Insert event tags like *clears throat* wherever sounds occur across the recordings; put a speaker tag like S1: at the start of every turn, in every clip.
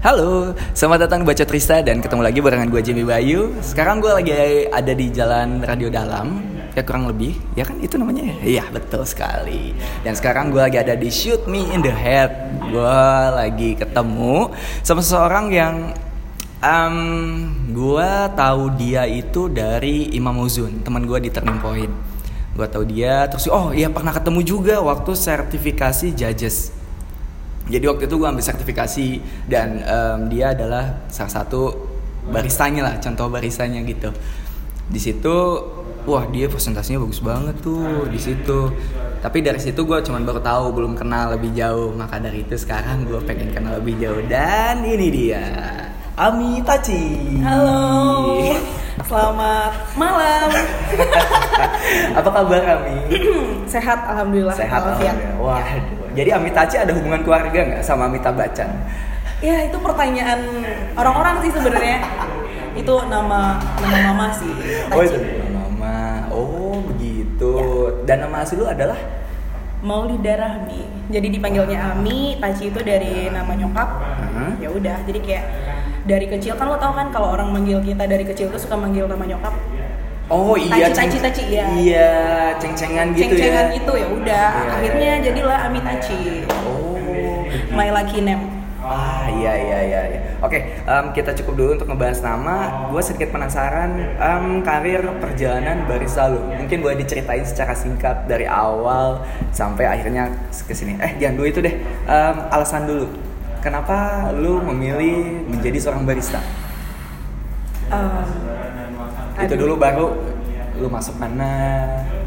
S1: Halo, selamat datang di Baca Trista dan ketemu lagi barengan gue Jimmy Bayu. Sekarang gue lagi ada di Jalan Radio Dalam, ya kurang lebih, ya kan itu namanya? ya? Iya betul sekali. Dan sekarang gue lagi ada di Shoot Me in the Head. Gue lagi ketemu sama seseorang yang um, gue tahu dia itu dari Imam Uzun, teman gue di Turning Point. Gue tahu dia, terus oh iya pernah ketemu juga waktu sertifikasi judges. Jadi waktu itu gue ambil sertifikasi dan em, dia adalah salah satu baristanya lah, contoh baristanya gitu. Di situ, wah dia presentasinya bagus banget tuh di situ. Tapi dari situ gue cuman baru tahu, belum kenal lebih jauh. Maka dari itu sekarang gue pengen kenal lebih jauh dan ini dia. Ami Taci.
S2: Halo,
S1: Iya.
S2: selamat malam.
S1: *laughs* *clears throat* Apa kabar Ami?
S2: Sehat alhamdulillah.
S1: Sehat
S2: walafiat.
S1: alhamdulillah. Waduh. Jadi Ami Taci ada hubungan keluarga nggak sama Amita Bacan?
S2: Ya itu pertanyaan orang-orang sih sebenarnya. Itu nama nama mama sih. Taci.
S1: Oh itu Ya. nama. Oh begitu. Dan nama asli lu adalah
S2: Maulida Rahmi. Jadi dipanggilnya Ami, Taci itu dari
S1: Ya.
S2: nama nyokap.
S1: Hmm.
S2: Ya udah, jadi kayak dari kecil kan lo tau kan kalau orang manggil kita dari kecil tuh suka manggil nama nyokap.
S1: Oh iya
S2: Taci,
S1: ceng-
S2: Taci, Taci, iya.
S1: Iya, ceng-cengan gitu
S2: Ceng-cengan
S1: ya.
S2: gitu ya udah.
S1: Iya.
S2: Akhirnya jadilah Ami Taci.
S1: Oh. begitu.
S2: My lucky name.
S1: Ah iya iya iya. iya. Oke, em, kita cukup dulu untuk ngebahas nama. Gue sedikit penasaran em, karir perjalanan barista lu. Mungkin boleh diceritain secara singkat dari awal sampai akhirnya ke sini. Eh jangan dulu itu deh. Em, alasan dulu. Kenapa lu memilih menjadi seorang barista?
S2: Um,
S1: itu
S2: aduh.
S1: dulu baru lu masuk mana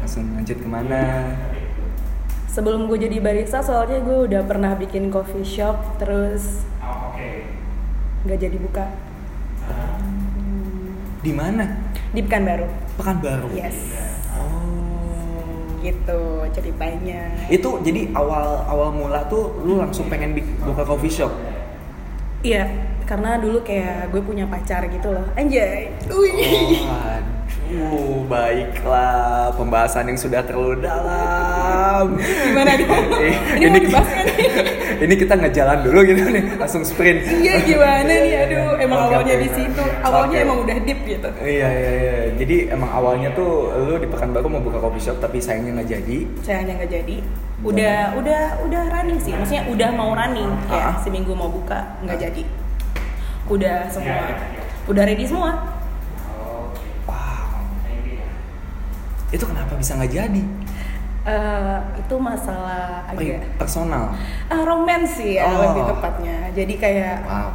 S1: langsung lanjut kemana
S2: Sebelum gue jadi barista, soalnya gue udah pernah bikin coffee shop, terus nggak jadi buka
S1: di mana
S2: di Pekanbaru.
S1: Oh, pekanbaru
S2: Yes,
S1: oh
S2: gitu ceritanya.
S1: itu jadi awal awal mula tuh lu langsung pengen bik- buka coffee
S2: *laughs*
S1: shop
S2: Iya, karena dulu kayak gue punya pacar gitu loh, anjay.
S1: Oh.
S2: Wih.
S1: Waduh, baiklah pembahasan yang sudah terlalu dalam.
S2: Gimana dong?
S1: Eh,
S2: Ini mau
S1: ki-
S2: dibahas nggak nih?
S1: ini kita ngejalan dulu gitu nih, langsung sprint.
S2: Iya gimana nih,
S1: *laughs*
S2: aduh emang
S1: Oke,
S2: awalnya
S1: oke.
S2: di situ, awalnya
S1: Oke.
S2: emang udah deep gitu.
S1: Iya iya iya. Jadi emang awalnya tuh lu di Pekanbaru mau buka coffee shop tapi sayangnya nggak jadi.
S2: Sayangnya nggak jadi. Udah, udah, udah running sih. Maksudnya udah mau running,
S1: Ah.
S2: kayak seminggu mau buka nggak jadi. Udah semua, udah ready semua.
S1: Wow. Itu kenapa bisa nggak jadi?
S2: Eh, itu masalah agak
S1: Pri- Personal.
S2: ah, romance sih ya
S1: iya. Oh.
S2: lebih tepatnya jadi kayak
S1: Wow.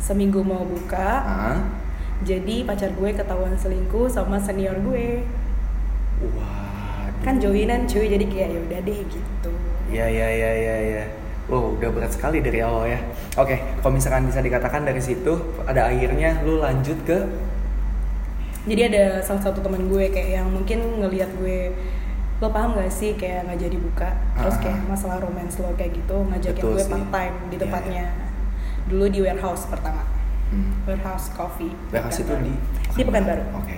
S2: seminggu mau buka
S1: Ah.
S2: jadi pacar gue ketahuan selingkuh sama senior gue
S1: Wah.
S2: kan joinan cuy jadi kayak ya udah deh gitu
S1: Ya ya ya ya ya. Wow, udah berat sekali dari awal ya. Oke, kalau misalkan bisa dikatakan dari situ ada akhirnya lu lanjut ke
S2: jadi ada salah satu teman gue kayak yang mungkin ngelihat gue lo paham gak sih kayak nggak jadi buka terus
S1: Ah.
S2: kayak masalah romance lo kayak gitu ngajakin
S1: Betul
S2: gue
S1: sih.
S2: part time di
S1: Iya,
S2: tempatnya dulu di warehouse pertama
S1: hmm,
S2: warehouse coffee
S1: warehouse itu di Oh.
S2: di Pekanbaru
S1: Oke.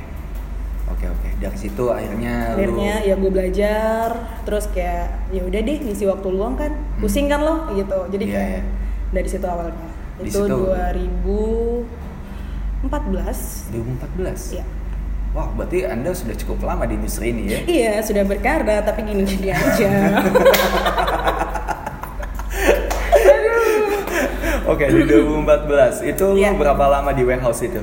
S1: Oke oke. Dari situ akhirnya,
S2: akhirnya
S1: lu
S2: ya gue belajar terus kayak ya udah deh ngisi waktu luang kan pusing kan lo gitu jadi
S1: Hmm. Iya, iya.
S2: kayak dari situ awalnya
S1: Di
S2: itu
S1: situ.
S2: 2014
S1: di umur 14.
S2: Iya.
S1: Wah, berarti Anda sudah cukup lama di industri ini ya.
S2: iya sudah berkarya tapi gini gini aja
S1: *laughs* Oke, di 2014. Itu lu
S2: Iya.
S1: berapa lama di warehouse itu?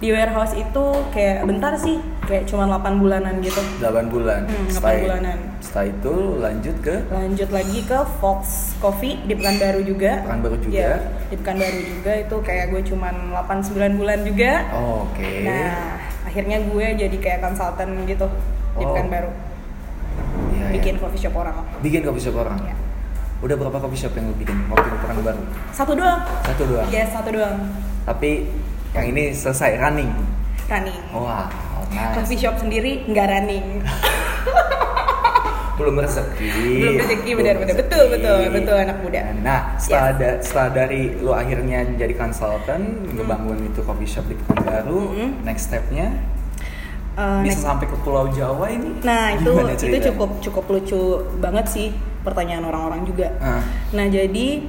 S2: di warehouse itu kayak bentar sih kayak cuma 8 bulanan gitu
S1: 8 bulan.
S2: Hmm, delapan
S1: Setelah-
S2: bulanan.
S1: Setelah itu lu lanjut ke
S2: lanjut lagi ke Fox Coffee di Pekanbaru juga
S1: Pekanbaru juga.
S2: Iya, di Pekanbaru juga itu kayak gue cuman 8-9 bulan juga
S1: Oh, Oke.
S2: Nah, akhirnya gue jadi kayak konsultan gitu di
S1: Oh.
S2: Pekanbaru,
S1: Iya, iya.
S2: bikin coffee shop orang.
S1: bikin coffee shop orang.
S2: Iya.
S1: Udah berapa coffee shop yang lu bikin waktu di Pekanbaru?
S2: Satu doang.
S1: Satu doang.
S2: Yes, satu doang.
S1: Tapi yang ini selesai running.
S2: Running.
S1: Wah, Oh, nice.
S2: Coffee shop sendiri nggak
S1: *laughs*
S2: running.
S1: Belum rezeki.
S2: Belum rezeki,
S1: Belum
S2: benar-benar.
S1: rezeki.
S2: Betul, betul, betul, anak muda.
S1: Nah, setelah, da- setelah dari lu akhirnya jadi konsultan, ngebangun itu coffee shop di Pekanbaru,
S2: Hmm.
S1: next stepnya
S2: Eh,
S1: bisa
S2: next.
S1: sampai ke Pulau Jawa ini?
S2: Nah, itu
S1: Gimana
S2: itu
S1: ceritanya?
S2: cukup cukup lucu banget sih pertanyaan orang-orang juga.
S1: Ah.
S2: Nah, jadi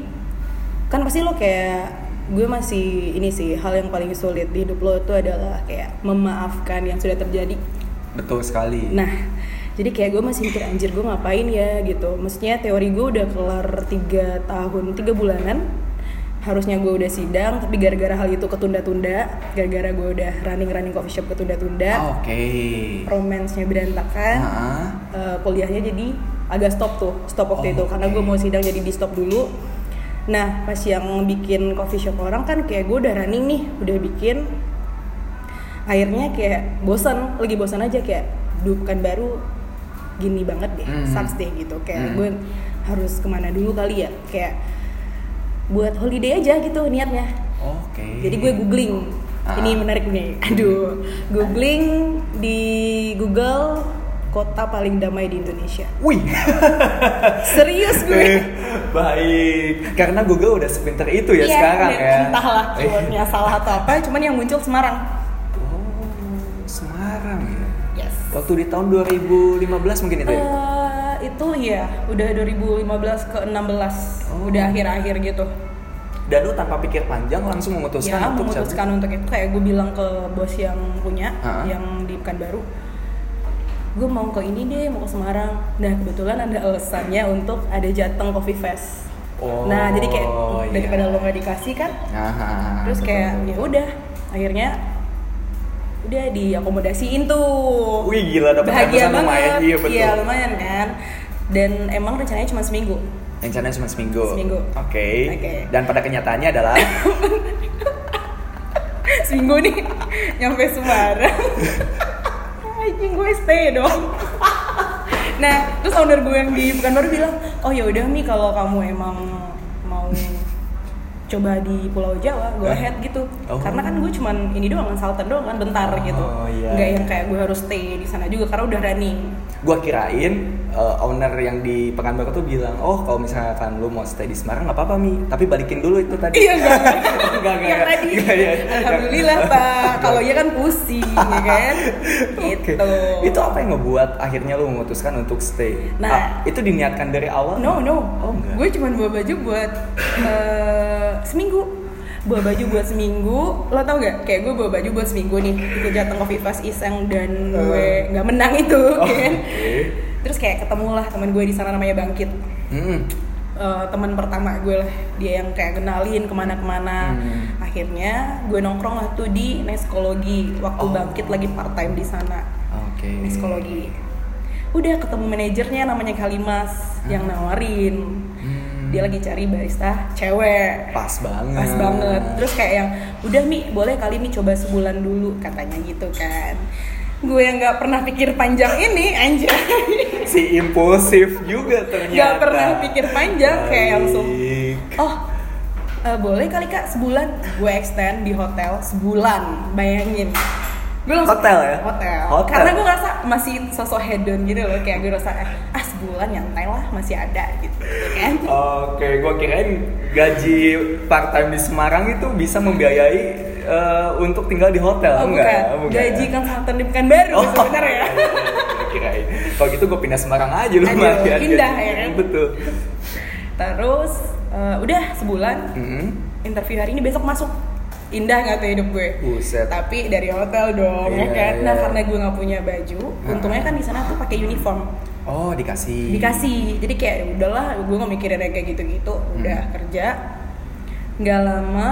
S2: kan pasti lo kayak gue masih ini sih hal yang paling sulit di hidup lo itu adalah kayak memaafkan yang sudah terjadi
S1: Betul sekali.
S2: Nah, jadi kayak gue masih mikir anjir gue ngapain ya gitu. Maksudnya teori gue udah kelar 3 tahun, 3 bulanan. Harusnya gue udah sidang, tapi gara-gara hal itu ketunda-tunda, gara-gara gue udah running-running coffee shop ketunda-tunda,
S1: Ah, Oke. Ah,
S2: romance-nya berantakan,
S1: Heeh.
S2: eh, kuliahnya jadi agak stop tuh, stop waktu itu
S1: Oke.
S2: karena gue mau sidang jadi di stop dulu. Nah, pas yang bikin coffee shop orang kan kayak gue udah running nih, udah bikin akhirnya kayak bosan lagi bosan aja kayak duh bukan baru gini banget deh
S1: Hmm.
S2: sucks deh gitu kayak
S1: Hmm.
S2: gue harus kemana dulu kali ya kayak buat holiday aja gitu niatnya
S1: Oke.
S2: jadi gue googling
S1: Ah.
S2: ini menarik nih aduh googling di Google kota paling damai di Indonesia
S1: Wih.
S2: serius gue
S1: *laughs* Baik. Karena Google udah sepinter itu ya
S2: Iya,
S1: sekarang
S2: bener.
S1: ya.
S2: entahlah
S1: Eh.
S2: keywordnya salah atau apa cuman yang muncul Semarang
S1: Oh, Semarang ya.
S2: yes
S1: Waktu di tahun 2015 mungkin itu ya.
S2: Eh, itu ya udah 2015 ke 16
S1: Oh.
S2: udah akhir-akhir gitu
S1: Dan lu tanpa pikir panjang langsung memutuskan untuk
S2: ya
S1: cabut.
S2: memutuskan untuk itu kayak gue bilang ke bos yang punya
S1: Ha-ha.
S2: yang di Pekanbaru gue mau ke ini deh mau ke Semarang nah kebetulan ada alasannya untuk ada Jateng Coffee Fest
S1: Oh,
S2: nah jadi kayak
S1: iya.
S2: daripada lo nggak dikasih kan
S1: Aha,
S2: terus
S1: betul,
S2: kayak
S1: betul.
S2: ya udah akhirnya udah diakomodasiin tuh
S1: Wih, gila, dapat ratusan
S2: bahagia banget
S1: lumayan. Iya, betul.
S2: lumayan kan dan emang rencananya cuma seminggu
S1: rencananya cuma seminggu.
S2: Seminggu.
S1: Oke.
S2: Oke.
S1: Dan pada kenyataannya
S2: *coughs*
S1: adalah
S2: seminggu nih nyampe Semarang anjing gue stay dong nah terus owner gue yang di bukan baru bilang oh ya udah mi kalau kamu emang mau coba di Pulau Jawa go
S1: Eh.
S2: ahead gitu
S1: Oh.
S2: karena kan gue cuman ini doang consultant doang kan bentar gitu
S1: Oh, iya.
S2: nggak yang kayak gue harus stay di sana juga karena udah running
S1: gua kirain uh, owner yang di Pekanbaru tuh bilang, "Oh, kalau misalkan lu mau stay di Semarang nggak apa-apa, Mi, tapi balikin dulu itu *laughs* tadi."
S2: Iya enggak.
S1: Enggak, enggak,
S2: Yang
S1: enggak.
S2: tadi.
S1: Iya, iya.
S2: Alhamdulillah, Pak. Kalau iya kan pusing ya kan.
S1: *laughs* Oke.
S2: Gitu.
S1: Itu apa yang ngebuat akhirnya lu memutuskan untuk stay?
S2: Nah.
S1: Ah, itu diniatkan dari awal?
S2: No, no.
S1: Oh, enggak.
S2: Gue cuma bawa baju buat eh, seminggu. Bawa baju buat seminggu. Lo tau gak? Kayak gue bawa baju buat seminggu nih. Ikut jateng Coffee Fest Iseng dan gue nggak menang itu,
S1: Eh. Oh,
S2: *laughs* ya kan?
S1: oke.
S2: Terus kayak ketemulah teman gue di sana namanya Bangkit.
S1: Mm-mm.
S2: Eh, teman pertama gue lah dia yang kayak kenalin kemana-kemana
S1: Hmm.
S2: akhirnya gue nongkrong lah tuh di neskologi waktu
S1: Oh. Hmm.
S2: bangkit lagi part time di sana
S1: Oke.
S2: neskologi udah ketemu manajernya namanya Kalimas yang nawarin
S1: Hmm.
S2: dia lagi cari barista cewek
S1: pas banget.
S2: pas banget terus kayak yang udah mi boleh kali mi coba sebulan dulu katanya gitu kan gue yang nggak pernah pikir panjang ini anjay *laughs*
S1: si impulsif juga ternyata. Iya.
S2: Nggak pernah pikir panjang, kayak langsung.
S1: Baik.
S2: Oh, eh, boleh kali kak sebulan gue extend di hotel sebulan, bayangin. Gue
S1: Hotel ya?
S2: Hotel.
S1: Hotel.
S2: Karena gue ngerasa masih sosok hedon gitu loh, kayak gue rasa ah sebulan nyantai lah masih ada gitu kan.
S1: Oke, gua kirain gaji part time di Semarang itu bisa membiayai eh, untuk tinggal di hotel,
S2: Oh,
S1: enggak?
S2: bukan. Gaji konsultan di bukan baru *laughs*
S1: Oh.
S2: sebenarnya.
S1: *laughs* Gua kirain. Kalau gitu gue pindah Semarang aja lu
S2: Aduh,
S1: mati-hati.
S2: pindah ya kan?
S1: Betul.
S2: Terus eh, udah sebulan
S1: Mm-mm.
S2: interview hari ini besok masuk. Indah nggak tuh hidup gue?
S1: Buset.
S2: Tapi dari hotel dong,
S1: Iya,
S2: ya kan? Nah,
S1: iya.
S2: karena gue nggak punya baju,
S1: Ah.
S2: untungnya kan di sana tuh pakai uniform.
S1: Oh, dikasih.
S2: dikasih jadi kayak ya udahlah gue nggak mikirin yang kayak gitu-gitu udah
S1: Hmm.
S2: kerja nggak lama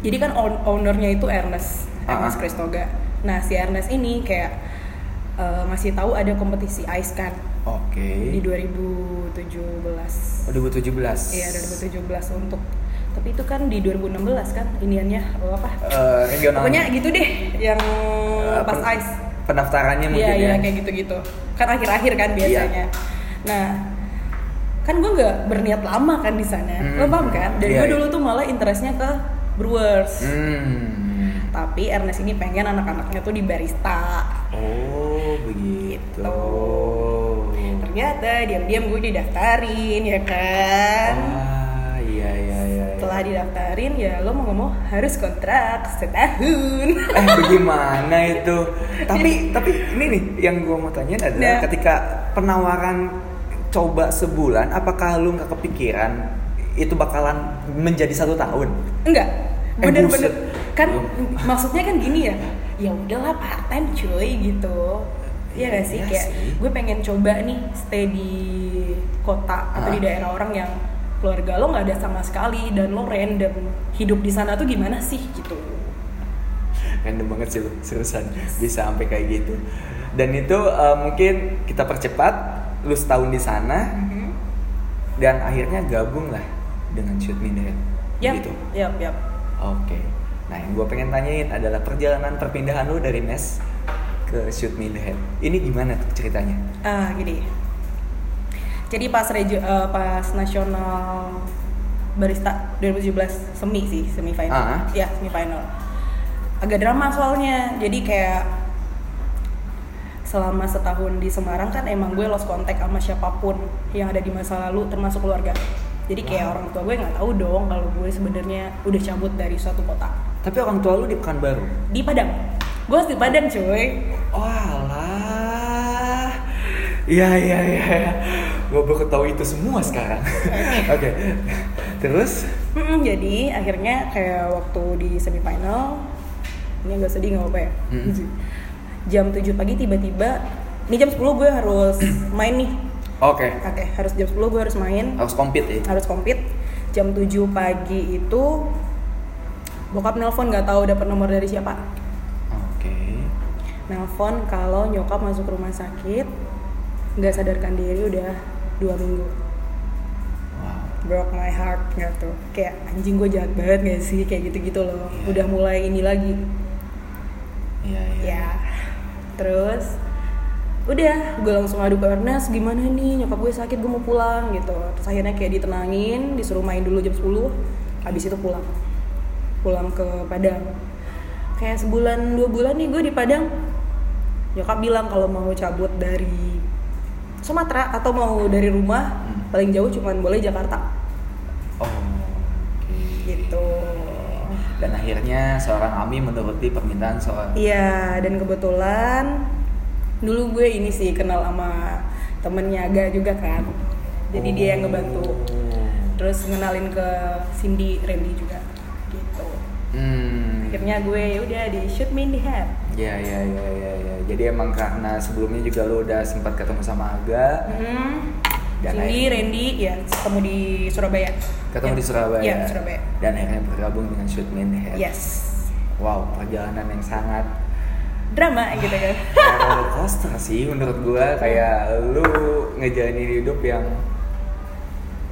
S2: jadi kan own- ownernya itu Ernest
S1: Ah, ah.
S2: Ernest Kristoga nah si Ernest ini kayak eh, masih tahu ada kompetisi ice kan
S1: Oke.
S2: di 2017
S1: 2017.
S2: iya 2017 untuk tapi itu kan di 2016 kan iniannya oh, apa
S1: Eh, regional.
S2: pokoknya gitu deh yang
S1: Eh,
S2: pas
S1: pen-
S2: ice
S1: Pendaftarannya
S2: Iya
S1: mungkin
S2: iya
S1: ya. Iya.
S2: kayak gitu-gitu. Kan akhir-akhir kan biasanya. Nah, kan gue nggak berniat lama kan di sana.
S1: Hmm.
S2: Lo paham kan? Dan
S1: Iya,
S2: gue
S1: iya.
S2: dulu tuh malah interestnya ke brewers.
S1: Hmm.
S2: Tapi Ernest ini pengen anak-anaknya tuh di barista.
S1: Oh, begitu.
S2: Gitu. Ternyata diam-diam gue didaftarin ya kan.
S1: Ah, iya iya iya. iya.
S2: Setelah didaftarin ya lo mau nggak mau harus kontrak setahun.
S1: eh bagaimana itu tapi tapi ini nih yang gue mau tanyain adalah
S2: Nah.
S1: ketika penawaran coba sebulan apakah lu nggak kepikiran itu bakalan menjadi satu tahun
S2: Enggak.
S1: Eh,
S2: Bener-bener.
S1: buset.
S2: kan
S1: Belum.
S2: maksudnya kan gini ya. Ya udahlah part time cuy gitu. Iya gak sih
S1: Iya
S2: kayak
S1: sih.
S2: gue pengen coba nih stay di kota atau di
S1: Ah.
S2: daerah orang yang keluarga lo nggak ada sama sekali dan lo random hidup di sana tuh gimana sih gitu.
S1: random banget sih lu seriusan bisa sampai kayak gitu dan itu eh, mungkin kita percepat lu setahun di sana Mm-hmm. dan akhirnya gabung lah dengan shoot me Dad.
S2: Yap,
S1: gitu
S2: yap, yap.
S1: oke nah yang gue pengen tanyain adalah perjalanan perpindahan lu dari Nes ke shoot me Dad. ini gimana tuh ceritanya
S2: Ah, gini. Jadi pas reju, eh, pas nasional barista 2017 semi sih,
S1: Ah.
S2: semifinal. Iya, semifinal. Agak drama soalnya. Jadi kayak selama setahun di Semarang kan emang gue lost kontak sama siapapun yang ada di masa lalu termasuk keluarga. Jadi kayak orang tua gue nggak tahu dong kalau gue sebenarnya udah cabut dari suatu kota.
S1: tapi orang tua lu di Pekanbaru
S2: Di Padang. Gue harus di Padang, cuy.
S1: Walah. Iya iya iya. Gue baru tahu itu semua sekarang. Oke. Terus
S2: Mm-mm, jadi akhirnya kayak waktu di semifinal ini agak sedih nggak apa-apa ya
S1: Mm-mm.
S2: jam 7 pagi tiba-tiba ini jam 10 gue harus main nih
S1: oke,
S2: oke harus jam 10 gue harus main
S1: harus compete ya.
S2: harus kompet jam 7 pagi itu bokap nelpon nggak tahu dapet nomor dari siapa
S1: Oke.
S2: nelpon kalau nyokap masuk rumah sakit nggak sadarkan diri udah dua minggu
S1: Wow.
S2: broke my heart gitu kayak anjing gue jahat banget gak sih kayak gitu gitu loh udah mulai ini lagi
S1: Iya iya.
S2: ya terus udah gue langsung adu ke Ernest gimana nih nyokap gue sakit gue mau pulang gitu terus akhirnya kayak ditenangin disuruh main dulu jam 10 habis itu pulang pulang ke Padang kayak sebulan dua bulan nih gue di Padang nyokap bilang kalau mau cabut dari Sumatera atau mau dari rumah
S1: Hmm.
S2: paling jauh cuman boleh Jakarta
S1: Oh, Oke.
S2: gitu
S1: Dan akhirnya seorang Ami menuruti permintaan seorang
S2: iya dan kebetulan dulu gue ini sih kenal sama temennya Aga juga kan jadi dia yang ngebantu terus ngenalin ke Cindy Randy juga gitu
S1: Hmm.
S2: akhirnya gue ya udah di shoot me in the head
S1: Ya, ya, ya, ya, ya. Jadi emang karena sebelumnya juga lo udah sempat ketemu sama Aga, Hmm.
S2: Mhm.
S1: Dan
S2: Cindy
S1: akhirnya-
S2: Randy ya ketemu di Surabaya
S1: ketemu
S2: Ya.
S1: di Surabaya. Iya.
S2: Iya, Surabaya Ya.
S1: Dan akhirnya bergabung dengan Shoot Me in the Head.
S2: yes
S1: Wow, perjalanan yang sangat
S2: drama gitu kan
S1: roller coaster sih menurut gua kayak lu ngejalanin hidup yang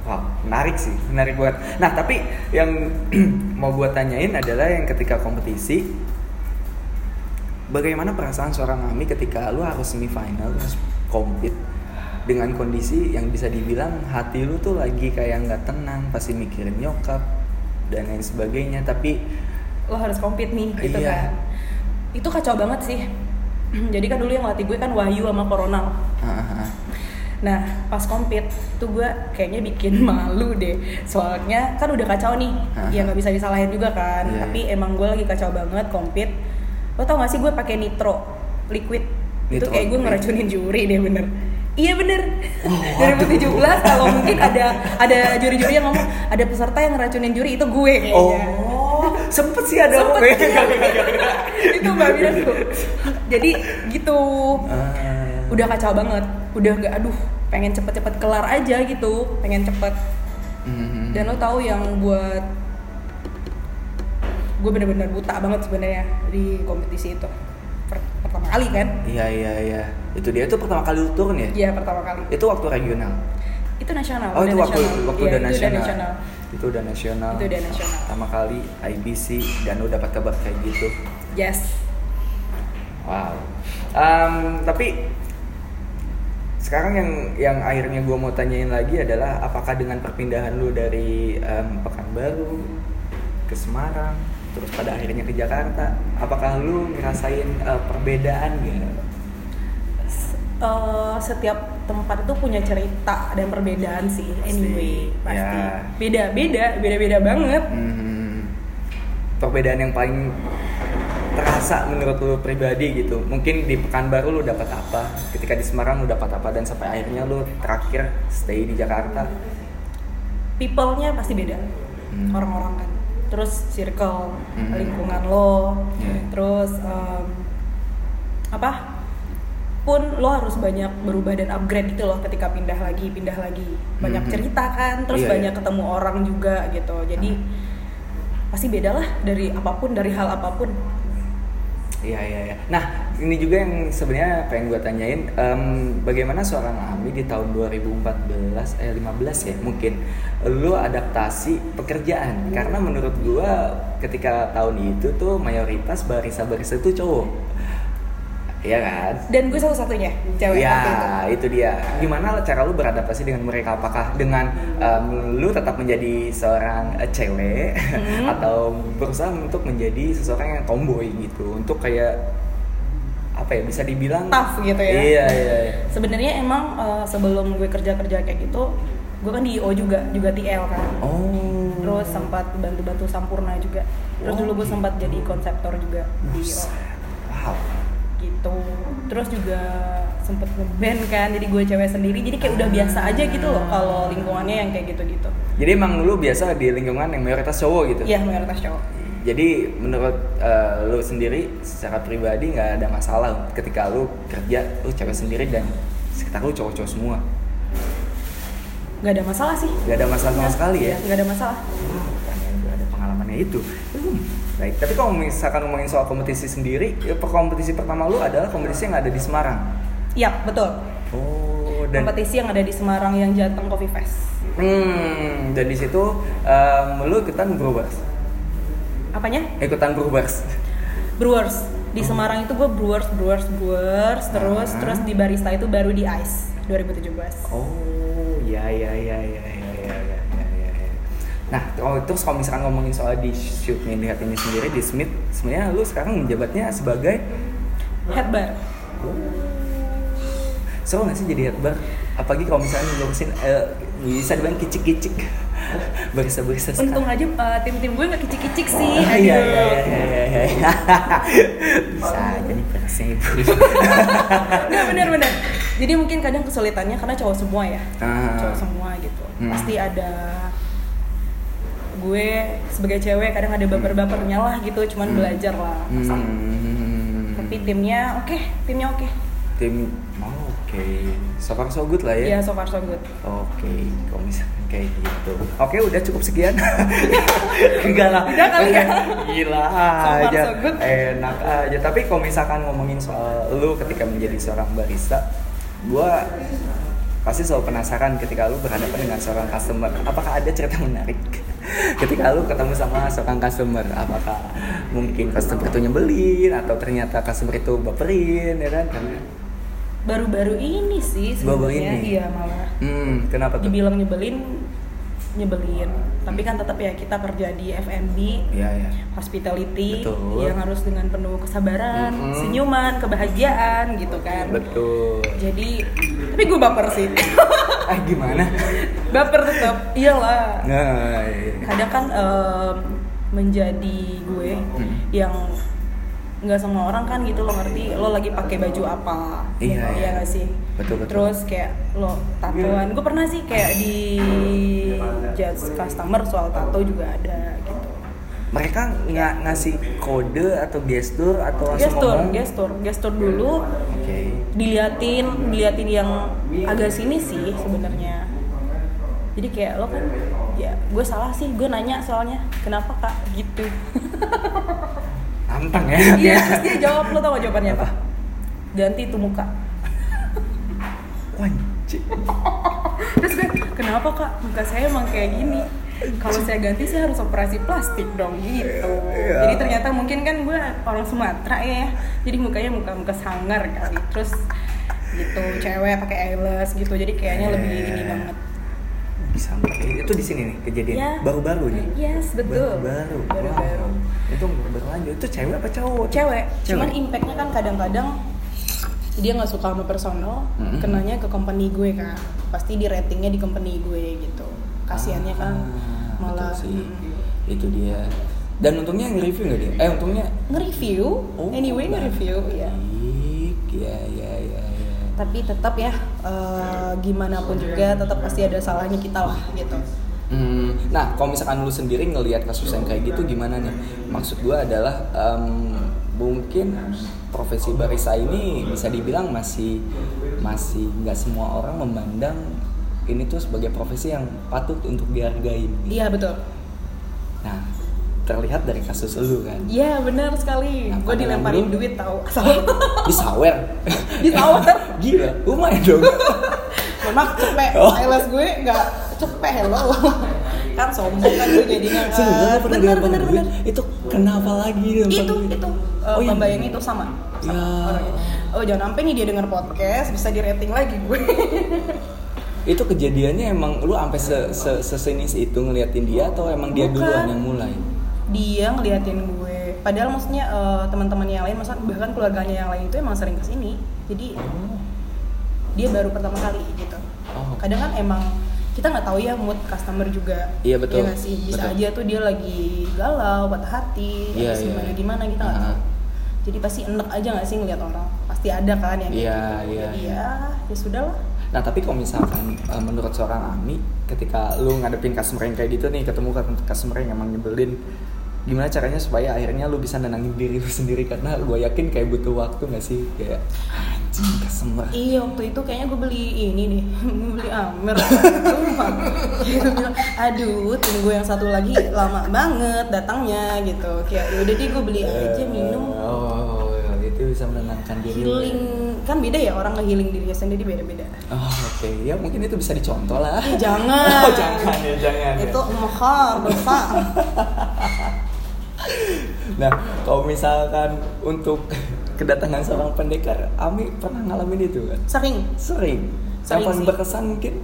S1: wow, menarik sih, menarik banget. Nah, tapi yang *clears throat* mau gua tanyain adalah yang ketika kompetisi bagaimana perasaan seorang Ami ketika lu harus semifinal, lu harus compete dengan kondisi yang bisa dibilang hati lu tuh lagi kayak nggak tenang, pasti mikirin nyokap dan lain sebagainya, tapi
S2: lo harus compete nih gitu
S1: Iya.
S2: kan itu kacau banget sih *clears throat* jadi kan dulu yang latih gue kan Wahyu sama Coronel
S1: ah,
S2: nah pas compete tuh gue kayaknya bikin *laughs* malu deh soalnya kan udah kacau nih
S1: Hah.
S2: ya nggak bisa disalahin juga kan
S1: Iya,
S2: tapi emang gue lagi kacau banget compete lo tau gak sih gue pakai nitro liquid itu
S1: Nitro
S2: kayak gue
S1: liquid.
S2: ngeracunin juri deh bener Iya bener. *laughs*
S1: Waduh.
S2: 2017 kalau mungkin ada ada juri-juri yang ngomong ada peserta yang ngeracunin juri itu gue kayaknya.
S1: Oh, sempet sih ada
S2: Iya.
S1: *laughs*
S2: Sempet
S1: orang-
S2: sih.
S1: iya.
S2: itu mbak bilang tuh jadi gitu
S1: Ah.
S2: udah kacau banget udah nggak aduh pengen cepet-cepet kelar aja gitu pengen cepet
S1: Mhm.
S2: dan lo tahu yang buat gue bener-bener buta banget sebenarnya di kompetisi itu Per- pertama kali kan
S1: Iya iya iya. Itu dia itu pertama kali lu turun ya?
S2: iya pertama kali
S1: Itu waktu regional.
S2: itu nasional
S1: Oh, itu waktu waktu
S2: Iya,
S1: udah
S2: itu
S1: nasional. Itu udah nasional.
S2: Itu udah nasional.
S1: Pertama kali IBC dan lu dapat kabar kayak gitu.
S2: yes
S1: Wow. Em, tapi sekarang yang yang akhirnya gue mau tanyain lagi adalah apakah dengan perpindahan lu dari em, Pekanbaru ke Semarang terus pada akhirnya ke Jakarta, apakah lu ngerasain eh, perbedaan gak?
S2: Eh, setiap tempat itu punya cerita dan perbedaan sih anyway
S1: Pasti.
S2: pasti
S1: Ya.
S2: beda beda beda beda banget
S1: Hmm, perbedaan yang paling terasa menurut lu pribadi gitu mungkin di Pekanbaru lu dapat apa ketika di Semarang lu dapat apa dan sampai akhirnya lu terakhir stay di Jakarta
S2: people-nya pasti beda
S1: Hmm.
S2: orang-orang kan terus circle
S1: Hmm.
S2: lingkungan lo
S1: Iya.
S2: terus em, apa pun lo harus banyak berubah dan upgrade gitu loh ketika pindah lagi pindah lagi
S1: Mhm.
S2: banyak cerita kan terus
S1: Iya,
S2: banyak
S1: iya.
S2: ketemu orang juga gitu jadi pasti beda lah dari apapun dari hal apapun
S1: Iya iya iya. Nah ini juga yang sebenarnya pengen gue tanyain, em, bagaimana seorang Ami di tahun 2014 eh 15 ya mungkin lu adaptasi pekerjaan karena menurut gue ketika tahun itu tuh mayoritas barisa barisa itu cowok, Iya kan?
S2: dan gue satu-satunya cewek
S1: ya,
S2: waktu itu.
S1: itu dia. Gimana cara lu beradaptasi dengan mereka? Apakah dengan em, lu tetap menjadi seorang eh, cewek
S2: Hmm.
S1: *laughs* atau berusaha untuk menjadi seseorang yang tomboy gitu? Untuk kayak apa ya bisa dibilang
S2: Tough gitu ya.
S1: Iya, iya. iya.
S2: sebenarnya emang eh, sebelum gue kerja-kerja kayak gitu gue kan di IO juga juga TL kan
S1: Oh.
S2: terus sempat bantu-bantu Sampurna juga
S1: Oh,
S2: terus dulu gue
S1: gitu.
S2: sempat jadi konseptor juga di IO
S1: Buset. Wow.
S2: gitu terus juga sempet ngeband kan jadi gue cewek sendiri jadi kayak udah biasa aja gitu loh kalau lingkungannya yang kayak gitu-gitu
S1: Jadi emang lu biasa di lingkungan yang mayoritas cowok gitu.
S2: iya mayoritas cowok
S1: Jadi menurut eh, lu sendiri secara pribadi nggak ada masalah ketika lu kerja lu cewek sendiri dan sekitar lu cowok-cowok semua.
S2: nggak ada masalah sih
S1: Gak ada masalah
S2: Iya.
S1: sama sekali ya.
S2: nggak ada masalah
S1: Pertanyaan gue ada pengalamannya itu. Hmm, Baik, tapi kalau misalkan ngomongin soal kompetisi sendiri, ya, per- kompetisi pertama lu adalah kompetisi yang ada di Semarang.
S2: iya betul
S1: Oh, dan
S2: kompetisi yang ada di Semarang yang Jateng Coffee Fest
S1: hmm, dan di situ em, lu ikutan Brewers.
S2: apanya
S1: Ikutan Brewers.
S2: Brewers di Semarang itu gue Brewers Brewers Brewers terus
S1: Oh. Ah.
S2: terus di barista itu baru di Ice 2017
S1: Oh, ya ya ya ya ya ya ya ya. ya, ya. Nah, kalau terus kalau misalkan ngomongin soal di shootnya di ini sendiri di Smith, sebenarnya lu sekarang menjabatnya sebagai oh,
S2: head bar
S1: seru nggak sih jadi head bar? Apalagi kalau misalnya ngurusin eh, bisa dibilang kicik-kicik *laughs* barista-barista sekarang.
S2: untung aja uh, tim-tim gue nggak kicik-kicik sih
S1: *laughs* Oh,
S2: aduh
S1: iya, iya, iya, iya, iya, iya. *laughs* Bisa jadi berasnya ibu.
S2: *laughs* nggak benar-benar jadi mungkin kadang kesulitannya karena cowok semua ya
S1: Ah.
S2: cowok semua gitu
S1: Hmm.
S2: pasti ada gue sebagai cewek kadang ada baper-bapernya lah gitu cuman belajar lah
S1: Hmm.
S2: tapi timnya oke timnya oke
S1: tim oh, oke. So far so good lah ya.
S2: ya so far so good
S1: Oke, kalau misalkan kayak gitu. Oke, udah cukup sekian. *laughs* Enggak lah.
S2: Udah kali ya?
S1: Gila
S2: far,
S1: aja.
S2: so good.
S1: Enak aja. Tapi kalau misalkan ngomongin soal lu ketika menjadi seorang barista, gua pasti selalu penasaran ketika lu berhadapan dengan seorang customer. Apakah ada cerita menarik? *laughs* Ketika lu ketemu sama seorang customer, apakah mungkin customer itu nyebelin atau ternyata customer itu baperin, ya kan? Karena-
S2: baru-baru ini sih
S1: Baru-baru
S2: sebenarnya
S1: ini?
S2: iya malah
S1: Hmm, kenapa tuh?
S2: dibilang nyebelin nyebelin tapi kan tetap ya kita kerja di F&B
S1: Iya, iya.
S2: hospitality
S1: Betul.
S2: yang harus dengan penuh kesabaran
S1: Mm-mm.
S2: senyuman kebahagiaan gitu kan
S1: Betul.
S2: jadi tapi gue baper sih *laughs*
S1: Ah gimana?
S2: baper tetap iyalah
S1: Nah, iya.
S2: kadang kan em, menjadi gue
S1: Hmm.
S2: yang nggak semua orang kan gitu lo ngerti lo lagi pakai baju apa
S1: Iya,
S2: gitu,
S1: iya.
S2: nggak sih
S1: Betul, betul.
S2: terus kayak lo tatoan gue pernah sih kayak di judge customer soal tato juga ada gitu
S1: mereka nggak ngasih kode atau gestur atau langsung
S2: gestur
S1: ngomong?
S2: gestur gestur dulu
S1: Oke.
S2: diliatin diliatin yang agak sini sih sebenarnya jadi kayak lo kan ya gue salah sih gue nanya soalnya kenapa kak gitu
S1: Tantang ya. Iya.
S2: iya terus dia jawab lo tau gak jawabannya apa ganti itu muka
S1: Wanci.
S2: terus gue kenapa kak muka saya emang kayak gini kalau saya ganti saya harus operasi plastik dong gitu
S1: Iya.
S2: jadi ternyata mungkin kan gue orang Sumatera ya jadi mukanya muka muka sangar kali terus gitu cewek pakai eyelash gitu jadi kayaknya lebih ini banget
S1: Bisa nggak? itu di sini nih kejadian
S2: Ya.
S1: baru-baru nih.
S2: Yes, betul.
S1: Baru-baru.
S2: Baru-baru.
S1: Wow. Itu berlanjut. Itu cewek apa cowok?
S2: Cewek, cuman
S1: Cewek.
S2: impactnya kan kadang-kadang dia nggak suka sama personal,
S1: Mm-mm.
S2: kenanya ke company gue kan, pasti di ratingnya di company gue gitu. Kasiannya kan
S1: Ah,
S2: malah
S1: betul sih.
S2: mm,
S1: Itu dia. Dan untungnya nge-review nggak dia? Eh untungnya. Oh,
S2: nge-review, anyway nge-review ya.
S1: baik. Ya ya ya ya.
S2: Tapi tetap ya eh, gimana pun juga tetap pasti ada salahnya kita lah gitu.
S1: Hmm, Nah, kalau misalkan lu sendiri ngelihat kasus yang kayak gitu gimana nih? Maksud gua adalah em, mungkin profesi barista ini bisa dibilang masih masih nggak semua orang memandang ini tuh sebagai profesi yang patut untuk dihargai.
S2: Iya betul.
S1: Nah, terlihat dari kasus lu kan.
S2: Iya benar sekali.
S1: Nah,
S2: Gue
S1: pandangan
S2: dilemparin
S1: lu?
S2: duit tau. *laughs*
S1: Disawer.
S2: Disawer.
S1: *laughs* Gila, lumayan
S2: *laughs*
S1: dong.
S2: Memang cepet.
S1: Oh.
S2: Eyelash gue nggak cepet
S1: *laughs*
S2: hello. kan sombong kan gue jadinya kan.
S1: Sehingga pernah
S2: Bener,
S1: dilempar
S2: bener,
S1: duit,
S2: bener.
S1: gitu? Itu kenapa lagi dilempar
S2: Itu
S1: duit?
S2: itu
S1: Oh,
S2: oh,
S1: iya.
S2: itu sama.
S1: Ya.
S2: orangnya. Oh jangan sampai nih dia denger podcast bisa di rating lagi gue.
S1: itu kejadiannya emang lu sampai se, se, sesinis itu ngeliatin dia atau emang dia
S2: Bukan.
S1: duluan yang mulai?
S2: *laughs* dia ngeliatin gue. Padahal maksudnya eh, teman-teman yang lain, maksudnya bahkan keluarganya yang lain itu emang sering kesini. Jadi dia baru pertama kali gitu.
S1: Oh.
S2: Kadang kan emang kita nggak tahu ya mood customer juga.
S1: Iya, betul.
S2: Ya nggak sih? Bisa
S1: Betul.
S2: aja tuh dia lagi galau, patah hati,
S1: Iya, iya.
S2: terus gimana gimana kita nggak tahu.
S1: Ah.
S2: Jadi pasti enek aja nggak sih ngeliat orang. Pasti ada kan
S1: Iya,
S2: yang gitu.
S1: iya,
S2: Jadi
S1: iya.
S2: ya, ya sudah lah.
S1: Nah tapi kalau misalkan eh, menurut seorang Ami, ketika lu ngadepin customer yang kayak gitu nih, ketemu customer yang emang nyebelin, gimana caranya supaya akhirnya lu bisa nenangin diri lu *laughs* sendiri karena gue yakin kayak butuh waktu gak sih kayak anjing customer
S2: Iya waktu itu kayaknya gue beli ini nih, *laughs* gue beli Amer. Sumpah. Gitu bilang, aduh tim gue yang satu lagi lama banget datangnya gitu. Kayak yaudah deh gue beli
S1: Iya.
S2: aja iya, minum
S1: oh itu bisa menenangkan diri lu.
S2: healing kan beda ya orang nge-healing dirinya sendiri
S1: *laughs*
S2: beda-beda.
S1: oh oke ya mungkin itu bisa dicontoh lah
S2: Eh, jangan.
S1: oh jangan ya jangan ya.
S2: Itu mahal dosa.
S1: *laughs* Nah, kalau misalkan untuk *laughs* kedatangan seorang pendekar, Ami pernah ngalamin itu kan?
S2: Sering.
S1: Sering. Yang
S2: Sering
S1: paling
S2: sih.
S1: berkesan mungkin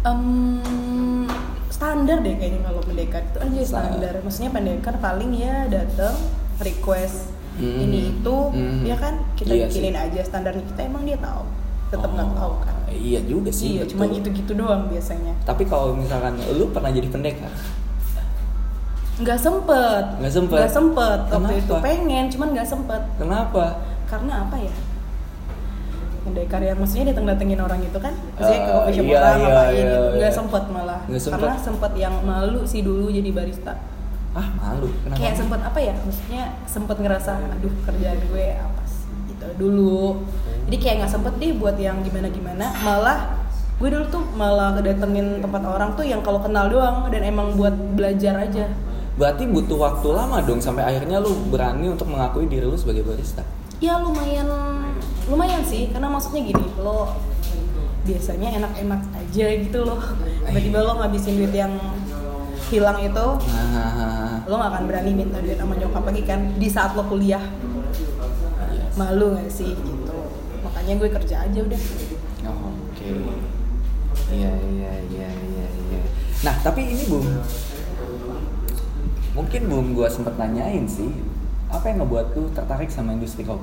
S2: Em, standar deh kayaknya kalau pendekar itu aja standar. Maksudnya pendekar paling ya datang request
S1: Hmm.
S2: ini itu
S1: Hmm.
S2: ya kan kita
S1: Iya
S2: bikinin
S1: sih.
S2: aja standarnya kita emang dia tahu. Tetap nggak
S1: Oh,
S2: tahu kan.
S1: Iya juga sih.
S2: Iya,
S1: betul.
S2: cuma gitu-gitu doang biasanya.
S1: Tapi kalau misalkan lu pernah jadi pendekar,
S2: Nggak sempet.
S1: Nggak sempet?
S2: Nggak sempet. Waktu
S1: Kenapa?
S2: itu pengen, cuman nggak sempet.
S1: kenapa?
S2: Karena apa ya? Pendekar yang maksudnya datang datengin orang itu kan, maksudnya ke
S1: Eh,
S2: coffee shop
S1: iya,
S2: orang
S1: iya,
S2: ngapain
S1: iya,
S2: gitu. Nggak
S1: iya.
S2: sempet malah.
S1: Nggak sempet.
S2: Karena sempet yang malu sih dulu jadi barista.
S1: Ah malu. Kenapa?
S2: Kayak sempet apa ya? Maksudnya sempet ngerasa, aduh kerjaan gue apa sih gitu dulu. Jadi kayak nggak sempet deh buat yang gimana-gimana. Malah gue dulu tuh malah kedatengin tempat orang tuh yang kalau kenal doang dan emang buat belajar aja.
S1: Berarti butuh waktu lama dong sampai akhirnya lu berani untuk mengakui diri lu sebagai barista.
S2: Ya lumayan lumayan sih karena maksudnya gini lo biasanya enak-enak aja gitu loh tiba-tiba lo ngabisin duit yang hilang itu
S1: Nah,
S2: lo gak akan berani minta duit sama nyokap lagi kan di saat lo kuliah
S1: iya.
S2: malu gak sih gitu makanya gue kerja aja udah
S1: Oh, Oke. Iya iya iya iya iya. Nah tapi ini Bung, mungkin Bung gua sempet nanyain sih, apa yang ngebuat lu tertarik sama industri kopi,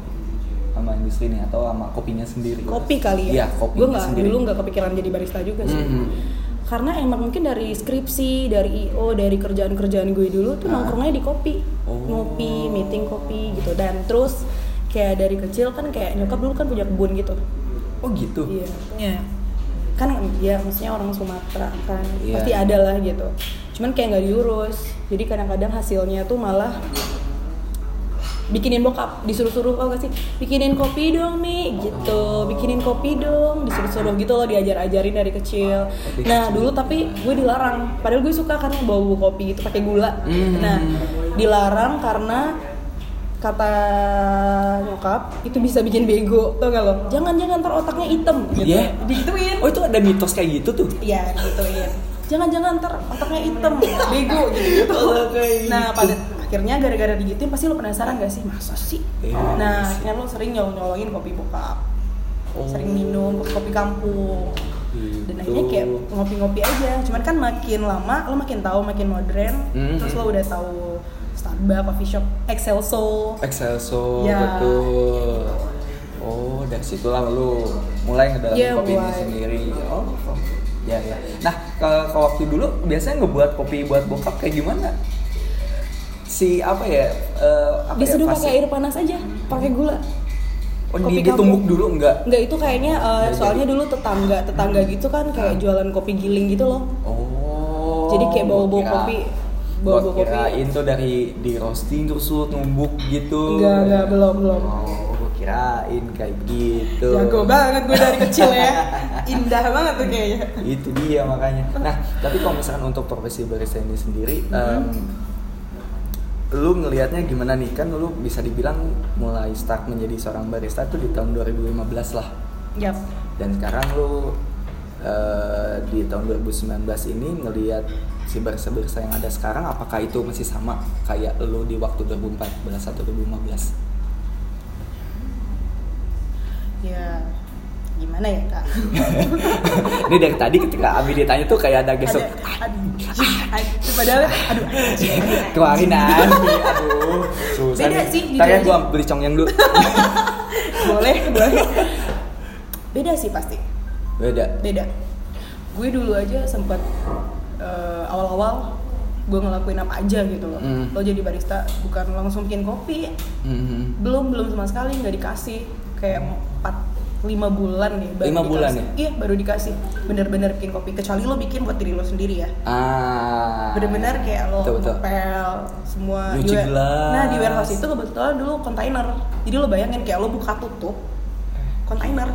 S1: sama industri ini atau sama kopinya sendiri?
S2: kopi kali
S1: Iya,
S2: ya,
S1: kopinya
S2: gue nggak
S1: sendiri.
S2: dulu nggak kepikiran jadi barista juga sih
S1: Mhm.
S2: karena emang mungkin dari skripsi dari io dari kerjaan kerjaan gue dulu tuh
S1: Ah.
S2: nongkrongnya di kopi
S1: Oh.
S2: ngopi meeting kopi gitu dan terus kayak dari kecil kan kayak nyokap dulu kan punya kebun gitu
S1: Oh gitu.
S2: iya punya kan ya maksudnya orang Sumatera kan
S1: Iya.
S2: pasti ada lah gitu cuman kayak nggak diurus jadi kadang-kadang hasilnya tuh malah bikinin bokap disuruh-suruh oh gak sih bikinin kopi dong mi
S1: Oh.
S2: gitu bikinin kopi dong disuruh-suruh gitu loh diajar-ajarin dari kecil nah dulu tapi gue dilarang padahal gue suka karena bau kopi gitu pakai gula
S1: Hmm.
S2: nah dilarang karena kata nyokap itu bisa bikin bego tau gak lo jangan jangan ntar otaknya hitam gitu
S1: Iya.
S2: digituin
S1: Oh itu ada mitos kayak gitu tuh?
S2: Iya gituin jangan-jangan ntar otaknya hitam bego *laughs* gitu
S1: Oh, kayak
S2: nah
S1: gitu.
S2: pada akhirnya gara-gara digituin pasti lo penasaran gak sih masa sih
S1: Iya,
S2: nah
S1: sih.
S2: akhirnya lo sering nyolong nyolongin kopi bokap
S1: Oh.
S2: sering minum kopi, kopi kampung dan
S1: Gitu.
S2: akhirnya Nah, kayak ngopi-ngopi aja cuman kan makin lama lo makin tahu makin modern
S1: Mhm.
S2: terus lo udah tahu Starbucks coffee shop Excelso
S1: Excelso
S2: Ya.
S1: betul. Oh dari situlah lu mulai ngedalamin
S2: Iya,
S1: kopi ini
S2: mulai.
S1: sendiri. Oh. oh. Ya, ya. Nah, kalau kalau waktu dulu biasanya ngebuat kopi buat bokap kayak gimana? Si apa ya? eh, apa ya,
S2: disuruh pakai
S1: fasi-
S2: air panas aja pakai gula
S1: Oh,
S2: kopi
S1: di- ditumbuk dulu
S2: kampung.
S1: enggak?
S2: Enggak itu kayaknya eh,
S1: Nggak Ah.
S2: soalnya dulu tetangga tetangga gitu kan kayak jualan kopi giling gitu loh
S1: Oh.
S2: Jadi kayak bau-bau
S1: gua kira-
S2: kopi, bau-bau
S1: gua kirain
S2: kopi.
S1: tuh dari di roasting terus lu numbuk gitu.
S2: Enggak, enggak, belum, belum.
S1: Oh, gua kirain kayak gitu.
S2: Jago banget gue dari kecil
S1: *laughs*
S2: ya. Indah banget tuh kayaknya.
S1: itu dia makanya nah tapi kalau misalkan untuk profesi barista ini sendiri em, lu ngelihatnya gimana nih kan lu bisa dibilang mulai start menjadi seorang barista tuh di tahun 2015 lah
S2: Yap.
S1: dan sekarang lu eh, di tahun 2019 ini ngelihat si barista-barista yang ada sekarang apakah itu masih sama kayak lu di waktu 2014 atau 2015
S2: Ya gimana ya kak?
S1: ini dari tadi ketika Abi ditanya tuh kayak ada gesek
S2: Ada, anjing, anjing. Padahal, aduh, anjing, aduh, anjing.
S1: *laughs* keluarin Abi aduh susah
S2: Beda
S1: nih.
S2: sih, jujur
S1: Ntar ya
S2: aja.
S1: gua beli congyang dulu
S2: boleh
S1: *laughs*
S2: boleh beda sih pasti
S1: beda
S2: beda gue dulu aja sempet eh, awal-awal gue ngelakuin apa aja gitu loh
S1: Mm.
S2: lo jadi barista bukan langsung bikin kopi
S1: Mhm.
S2: belum belum sama sekali nggak dikasih kayak empat lima bulan nih
S1: Lima bulan ya?
S2: dikasih. iya baru dikasih bener-bener bikin kopi kecuali lo bikin buat diri lo sendiri ya
S1: ah
S2: bener-bener kayak lo
S1: betul, betul.
S2: ngepel semua
S1: Nyuci
S2: wa-
S1: gelas.
S2: nah di warehouse itu kebetulan dulu kontainer jadi lo bayangin kayak lo buka tutup kontainer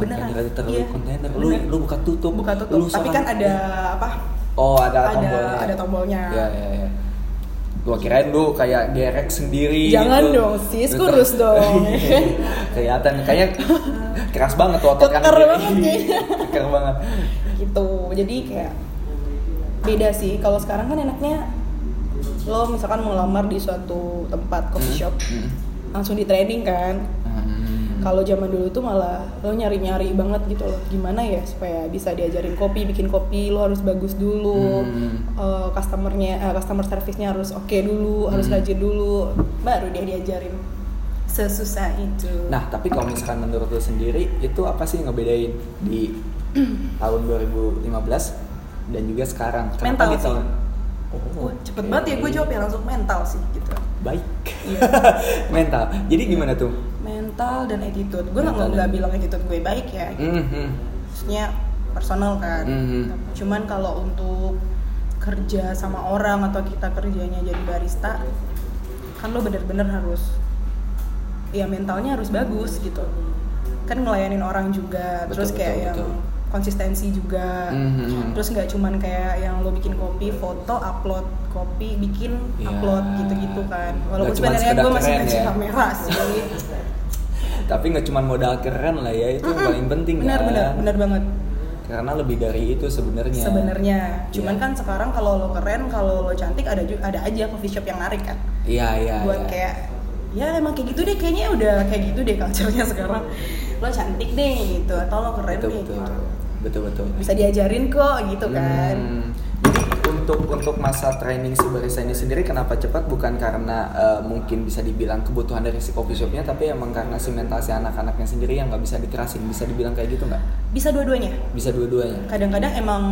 S2: beneran
S1: kontainer terlalu
S2: Iya,
S1: kontainer lu
S2: bener.
S1: lu buka tutup
S2: buka tutup
S1: Lu
S2: tapi
S1: seorang-
S2: kan ada apa
S1: oh ada,
S2: ada-
S1: tombolnya
S2: ada tombolnya.
S1: ya ya ya gua kirain lu kayak gerek sendiri
S2: Jangan
S1: gitu.
S2: dong, sis,
S1: Lu- Iya,
S2: kurus
S1: *laughs*
S2: dong.
S1: kelihatan kayak keras banget tuh otot kanan
S2: Keker
S1: kiri.
S2: banget kayaknya.
S1: *laughs* keker banget
S2: gitu jadi kayak beda sih kalau sekarang kan enaknya lo misalkan mau lamar di suatu tempat coffee shop
S1: Hmm.
S2: langsung di training kan
S1: Hmm.
S2: Kalau zaman dulu tuh malah lo nyari-nyari banget gitu loh. Gimana ya supaya bisa diajarin kopi, bikin kopi lo harus bagus dulu.
S1: Hmm.
S2: Eh, customernya, eh, customer service-nya harus oke dulu, harus
S1: Hmm.
S2: rajin dulu. Baru dia diajarin. Sesusah itu.
S1: Nah, tapi kalau misalkan menurut lu sendiri, itu apa sih yang ngebedain
S2: *clears throat*
S1: di tahun 2015 dan juga sekarang? Kenapa
S2: Mental
S1: di
S2: sih.
S1: tahun?
S2: Wah, cepet
S1: oke.
S2: banget ya Iya. gue jawab ya langsung mental sih gitu.
S1: Baik. *laughs* Mental. Jadi gimana tuh?
S2: Mental dan attitude. Gue
S1: Mental
S2: nggak
S1: dan-
S2: nggak bilang attitude gue baik ya.
S1: Mhm.
S2: maksudnya personal kan
S1: Mhm.
S2: cuman kalau untuk kerja sama orang atau kita kerjanya jadi barista kan lo bener-bener harus ya mentalnya harus bagus gitu kan ngelayanin orang juga
S1: Betul,
S2: terus kayak
S1: betul,
S2: yang
S1: betul.
S2: konsistensi juga
S1: Mhm.
S2: terus nggak cuman kayak yang lo bikin kopi foto upload kopi bikin
S1: Ya.
S2: upload gitu-gitu kan
S1: Nggak
S2: walaupun
S1: cuman
S2: sebenarnya
S1: sekedar
S2: gue masih
S1: keren
S2: ngasih
S1: ya. *laughs*
S2: kamera sih
S1: Tapi nggak cuma modal keren lah ya, itu yang paling penting
S2: Mhm. benar
S1: kan?
S2: benar benar banget
S1: Karena lebih dari itu sebenarnya.
S2: sebenarnya cuman
S1: Iya.
S2: kan sekarang kalau lo keren kalau lo cantik ada ju- ada aja coffee shop yang narik kan
S1: Iya, iya.
S2: buat
S1: iya.
S2: kayak ya emang kayak gitu deh kayaknya udah kayak gitu deh culture-nya sekarang lo cantik deh gitu atau lo keren
S1: betul,
S2: deh
S1: betul,
S2: gitu.
S1: betul, betul.
S2: bisa diajarin kok gitu kan
S1: Hmm. Jadi untuk untuk masa training si barista ini sendiri kenapa cepat bukan karena eh, mungkin bisa dibilang kebutuhan dari si coffee shopnya tapi emang karena si mental si anak-anaknya sendiri yang nggak bisa dikerasin bisa dibilang kayak gitu nggak?
S2: bisa dua-duanya
S1: Bisa dua-duanya.
S2: kadang-kadang emang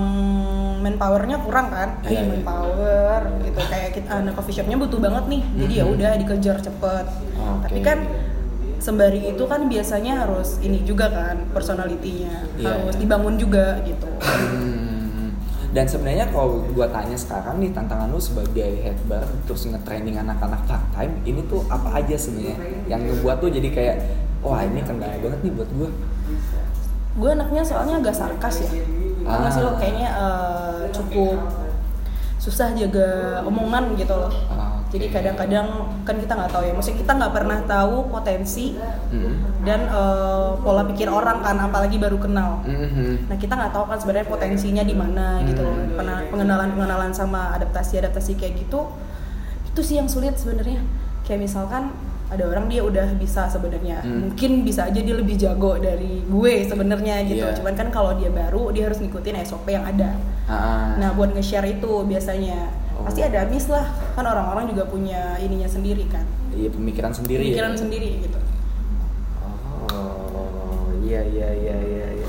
S2: manpowernya kurang kan
S1: Iya,
S2: Iya
S1: iya.
S2: manpower gitu kayak kita anak coffee shopnya butuh banget nih jadi ya
S1: Mhm.
S2: udah dikejar cepet
S1: Oke.
S2: tapi kan sembari itu kan biasanya harus ini juga kan personalitinya
S1: Iya,
S2: harus
S1: iya.
S2: dibangun juga gitu
S1: Hmm. Dan sebenarnya kalau gua tanya sekarang nih tantangan lu sebagai head bar terus nge-training anak-anak part time ini tuh apa aja sebenarnya yang ngebuat tuh jadi kayak wah ini kendala banget nih buat gua.
S2: gue anaknya soalnya agak sarkas ya
S1: Ah.
S2: nggak sih lo kayaknya eh, cukup susah jaga omongan gitu loh
S1: Ah, Oke.
S2: jadi kadang-kadang kan kita nggak tahu ya maksudnya kita nggak pernah tahu potensi
S1: Hmm.
S2: dan eh, pola pikir orang kan apalagi baru kenal
S1: Mhm.
S2: nah kita nggak tahu kan sebenarnya potensinya di mana gitu loh
S1: Hmm.
S2: pengenalan pengenalan sama adaptasi adaptasi kayak gitu itu sih yang sulit sebenarnya kayak misalkan ada orang dia udah bisa sebenarnya
S1: Hmm.
S2: mungkin bisa aja dia lebih jago dari gue sebenarnya gitu
S1: Iya.
S2: cuman kan kalau dia baru dia harus ngikutin SOP yang ada
S1: Ah.
S2: nah buat nge-share itu biasanya
S1: Oh.
S2: pasti ada habis lah kan orang-orang juga punya ininya sendiri kan
S1: Iya pemikiran sendiri.
S2: pikiran
S1: ya?
S2: sendiri gitu
S1: Oh iya iya iya iya. iya.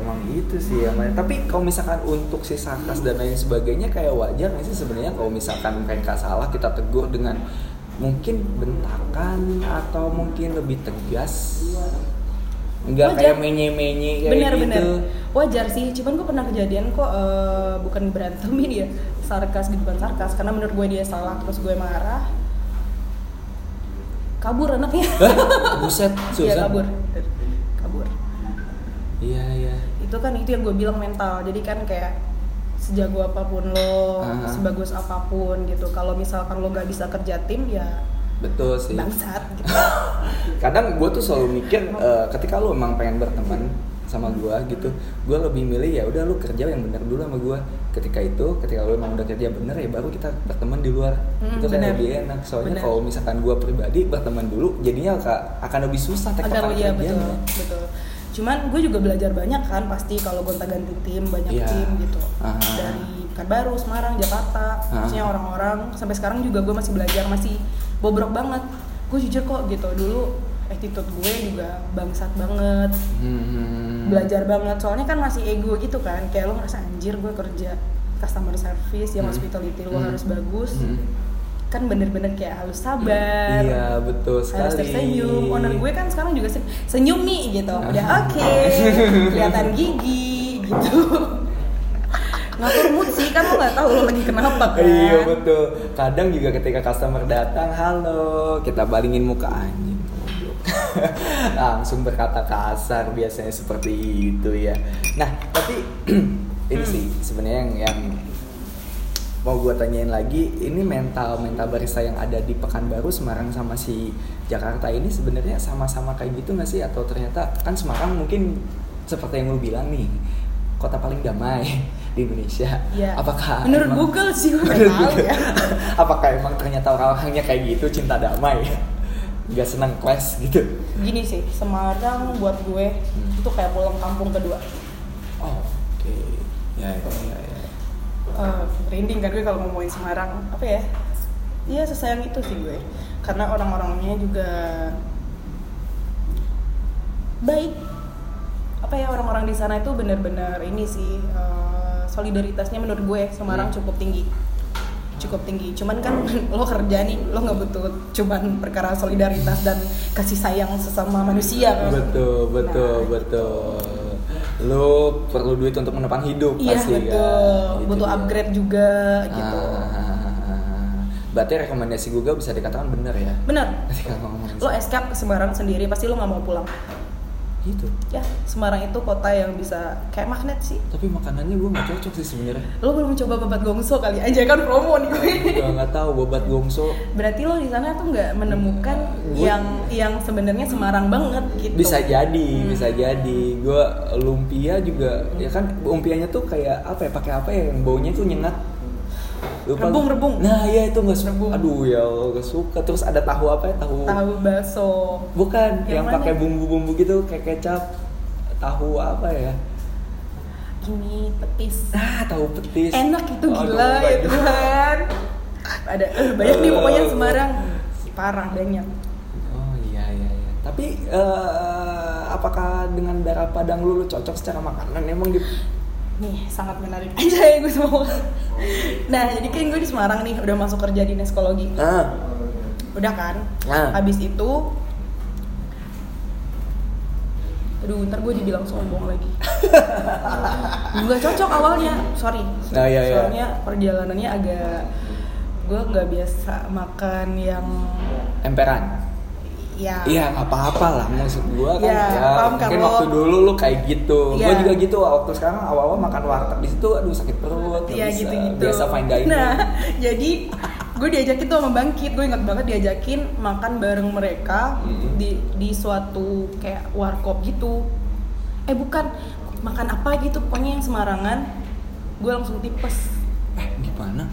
S1: Emang itu sih ya. Mai. Tapi kalau misalkan untuk si sarkas dan lain sebagainya kayak wajar nggak sih sebenarnya kalau misalkan mereka salah kita tegur dengan mungkin bentakan atau mungkin lebih tegas. Enggak
S2: Wajar.
S1: kayak menye-menye kayak
S2: benar
S1: gitu.
S2: *laughs* benar wajar sih cuman gue pernah kejadian kok eh, bukan berantemin ya sarkas gitu kan sarkas karena menurut gue dia salah terus gue marah kabur anaknya
S1: Hah? Buset,
S2: Iya
S1: Susan.
S2: kabur kabur
S1: Iya, iya.
S2: itu kan itu yang gue bilang mental jadi kan kayak sejago apapun lo
S1: Aha.
S2: sebagus apapun gitu kalau misalkan lo gak bisa kerja tim ya
S1: Betul sih.
S2: bangsat gitu.
S1: kadang gue tuh selalu mikir eh, ketika lu emang pengen berteman sama gua gitu gua lebih milih ya udah lu kerja yang bener dulu sama gua ketika itu ketika lu emang udah kerja bener ya baru kita berteman di luar
S2: Hmm,
S1: itu kayak
S2: bener.
S1: lebih enak soalnya
S2: Bener.
S1: kalau misalkan gua pribadi berteman dulu jadinya ka- akan lebih susah
S2: agar
S1: tektokan
S2: iya betul
S1: kerjanya.
S2: betul cuman gue juga belajar banyak kan pasti kalau gonta-ganti tim banyak
S1: Iya.
S2: tim gitu
S1: Aha.
S2: dari Pekanbaru Semarang Jakarta
S1: Aha.
S2: maksudnya orang-orang sampai sekarang juga gue masih belajar masih bobrok banget gue jujur kok gitu dulu attitude gue juga bangsat banget
S1: Hmm.
S2: belajar banget soalnya kan masih ego gitu kan kayak lo ngerasa anjir gue kerja customer service yang
S1: Hmm.
S2: hospitality lo
S1: Hmm.
S2: harus bagus
S1: Hmm.
S2: kan bener-bener kayak harus sabar
S1: iya betul sekali
S2: harus tersenyum owner gue kan sekarang juga se- senyum nih gitu
S1: *laughs*
S2: udah oke kelihatan gigi gitu ngatur mood sih kan lo nggak tahu lo lagi kenapa kan
S1: Iya betul. Kadang juga ketika customer datang, halo, kita balingin muka anjing. *laughs* goblok." Langsung berkata kasar biasanya seperti itu ya. Nah, tapi *clears throat* ini sih sebenarnya yang, yang mau gue tanyain lagi, ini mental mental barista yang ada di Pekanbaru, Semarang sama si Jakarta ini sebenarnya sama-sama kayak gitu nggak sih? Atau ternyata kan Semarang mungkin seperti yang lu bilang nih, kota paling damai *laughs* di Indonesia.
S2: Iya.
S1: Apakah
S2: menurut
S1: emang-
S2: Google sih
S1: *laughs*
S2: gue nggak tahu ya
S1: Apakah emang ternyata orang-orangnya kayak gitu cinta damai? *laughs* Gak senang clash gitu?
S2: gini sih Semarang buat gue
S1: Hmm.
S2: itu kayak pulang kampung kedua
S1: Oh, oke. Ya, ya, ya, ya.
S2: Eh, merinding kan gue kalau ngomongin Semarang apa ya iya sesayang itu sih gue karena orang-orangnya juga baik apa ya orang-orang di sana itu benar-benar ini sih eh, solidaritasnya menurut gue Semarang
S1: Hmm.
S2: cukup tinggi cukup tinggi cuman kan *laughs* lo kerja nih lo nggak butuh cuman perkara solidaritas dan kasih sayang sesama manusia kan
S1: Betul, betul,
S2: Nah,
S1: betul. Lu perlu duit untuk menopang hidup
S2: iya
S1: pasti
S2: betul
S1: kan? Gitu
S2: butuh
S1: dia.
S2: upgrade juga gitu
S1: Ah, berarti rekomendasi Google bisa dikatakan bener ya?
S2: benar
S1: Ketika ngomongin
S2: lo escape ke Semarang sendiri pasti lo nggak mau pulang
S1: gitu.
S2: ya Semarang itu kota yang bisa kayak magnet sih
S1: Tapi makanannya gue gak cocok sih
S2: *laughs*
S1: sebenarnya.
S2: lo belum coba babat gongso kali aja kan promo nih gue
S1: Gue gak tahu bobat gongso
S2: berarti lo di sana tuh nggak menemukan
S1: Gue-
S2: yang yang sebenarnya Semarang banget gitu
S1: bisa jadi
S2: Hmm.
S1: bisa jadi gue lumpia juga ya kan lumpianya tuh kayak apa ya pakai apa ya yang baunya tuh nyengat Lupa-
S2: Rebung, rebung.
S1: nah iya itu nggak suka
S2: Rebung.
S1: aduh ya Allah, nggak suka terus ada tahu apa ya tahu,
S2: tahu bakso
S1: bukan yang,
S2: Yang mana?
S1: pakai bumbu-bumbu gitu kayak kecap tahu apa ya
S2: ini petis
S1: ah tahu petis
S2: enak itu
S1: Aduh,
S2: gila ya
S1: banyak.
S2: Tuhan ada eh, banyak nih pokoknya Semarang parah banyak
S1: oh iya iya iya tapi eh, apakah dengan darah padang lu, lu cocok secara makanan emang di
S2: Nih, sangat menarik *laughs* aja ya gue semua. Nah, jadi kan gue di Semarang nih, udah masuk kerja di neskologi.
S1: ah
S2: Udah kan?
S1: Ah.
S2: Habis itu Aduh, ntar gue dibilang sombong
S1: *laughs*
S2: lagi. Nggak cocok awalnya, sorry.
S1: Nah, iya, iya.
S2: Soalnya perjalanannya agak gue nggak biasa makan yang
S1: emperan
S2: ya
S1: Iya nggak apa-apa lah maksud gua kan
S2: Iya, paham kan
S1: mungkin
S2: lo.
S1: waktu dulu lu kayak gitu
S2: Iya.
S1: gua juga gitu waktu sekarang awal-awal makan warteg di situ aduh sakit perut nggak
S2: Iya
S1: bisa.
S2: gitu-gitu.
S1: biasa fine dining
S2: Nah, *laughs* jadi gue diajakin tuh sama Bangkit, gue ingat banget diajakin makan bareng mereka
S1: Hmm.
S2: di di suatu kayak warkop gitu. Eh bukan, makan apa gitu pokoknya yang Semarangan. Gue langsung tipes.
S1: eh gimana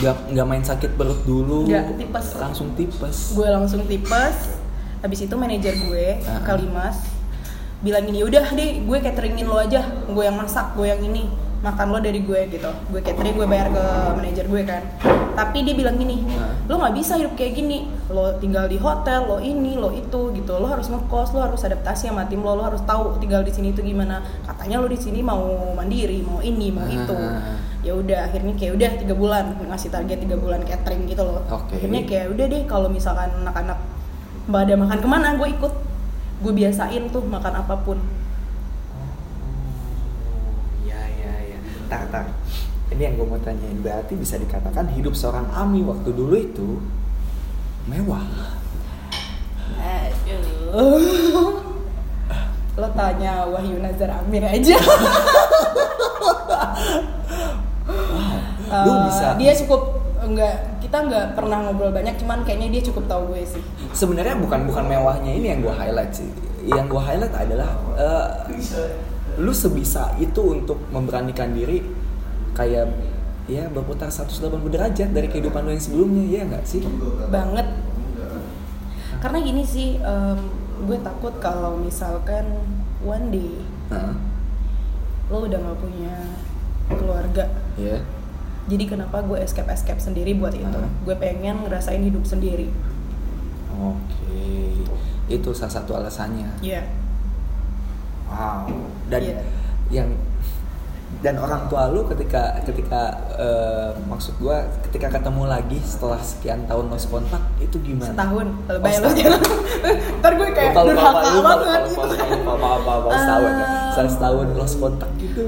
S1: nggak nggak main sakit perut dulu
S2: Nggak, tipes.
S1: langsung tipes
S2: Gue langsung tipes. Habis itu manajer gue,
S1: Ah.
S2: Kalimas, bilangin yaudah deh gue cateringin lo aja, gue yang masak, gue yang ini makan lo dari gue gitu gue catering gue bayar ke manajer gue kan tapi dia bilang gini
S1: Ah.
S2: lo nggak bisa hidup kayak gini lo tinggal di hotel lo ini lo itu gitu lo harus ngekos lo harus adaptasi sama tim lo lo harus tahu tinggal di sini itu gimana katanya lo di sini mau mandiri mau ini mau itu
S1: Ah.
S2: ya udah akhirnya kayak udah tiga bulan ngasih target tiga bulan catering gitu loh
S1: Oke.
S2: akhirnya kayak udah deh kalau misalkan anak-anak mbak ada makan kemana gue ikut gue biasain tuh makan
S1: *laughs*
S2: apapun
S1: Oh, iya iya iya tar tar Ini yang gue mau tanyain. Berarti bisa dikatakan hidup seorang Ami waktu dulu itu mewah.
S2: Aduh. Lo tanya Wahyu Nazar Amir aja.
S1: Lu
S2: Eh,
S1: bisa.
S2: Dia cukup enggak kita nggak pernah ngobrol banyak cuman kayaknya dia cukup tahu gue sih.
S1: Sebenarnya bukan bukan mewahnya ini yang gue highlight sih. Yang gue highlight adalah eh, lu sebisa itu untuk memberanikan diri kayak ya berputar 180 derajat dari kehidupan lu yang sebelumnya ya nggak sih?
S2: banget karena gini sih em, gue takut kalau misalkan one day
S1: Nah,
S2: lo udah nggak punya keluarga
S1: ya.
S2: jadi kenapa gue escape escape sendiri buat itu
S1: Ah.
S2: gue pengen ngerasain hidup sendiri
S1: Oke. Itu salah satu alasannya.
S2: ya
S1: Wow. Dan
S2: Iya.
S1: yang dan orang tua lu ketika ketika eh, maksud gua ketika ketemu lagi setelah sekian tahun lost kontak itu gimana?
S2: setahun
S1: Oh,
S2: lebay lo
S1: setahun.
S2: jangan *laughs* ntar gue kayak
S1: Lupa, lupa,
S2: durhaka
S1: lupa, lupa,
S2: banget
S1: lupa,
S2: gitu
S1: lupa, lupa, lupa, lupa, lupa, setahun ya.
S2: Eh.
S1: Setelah setahun lost kontak gitu.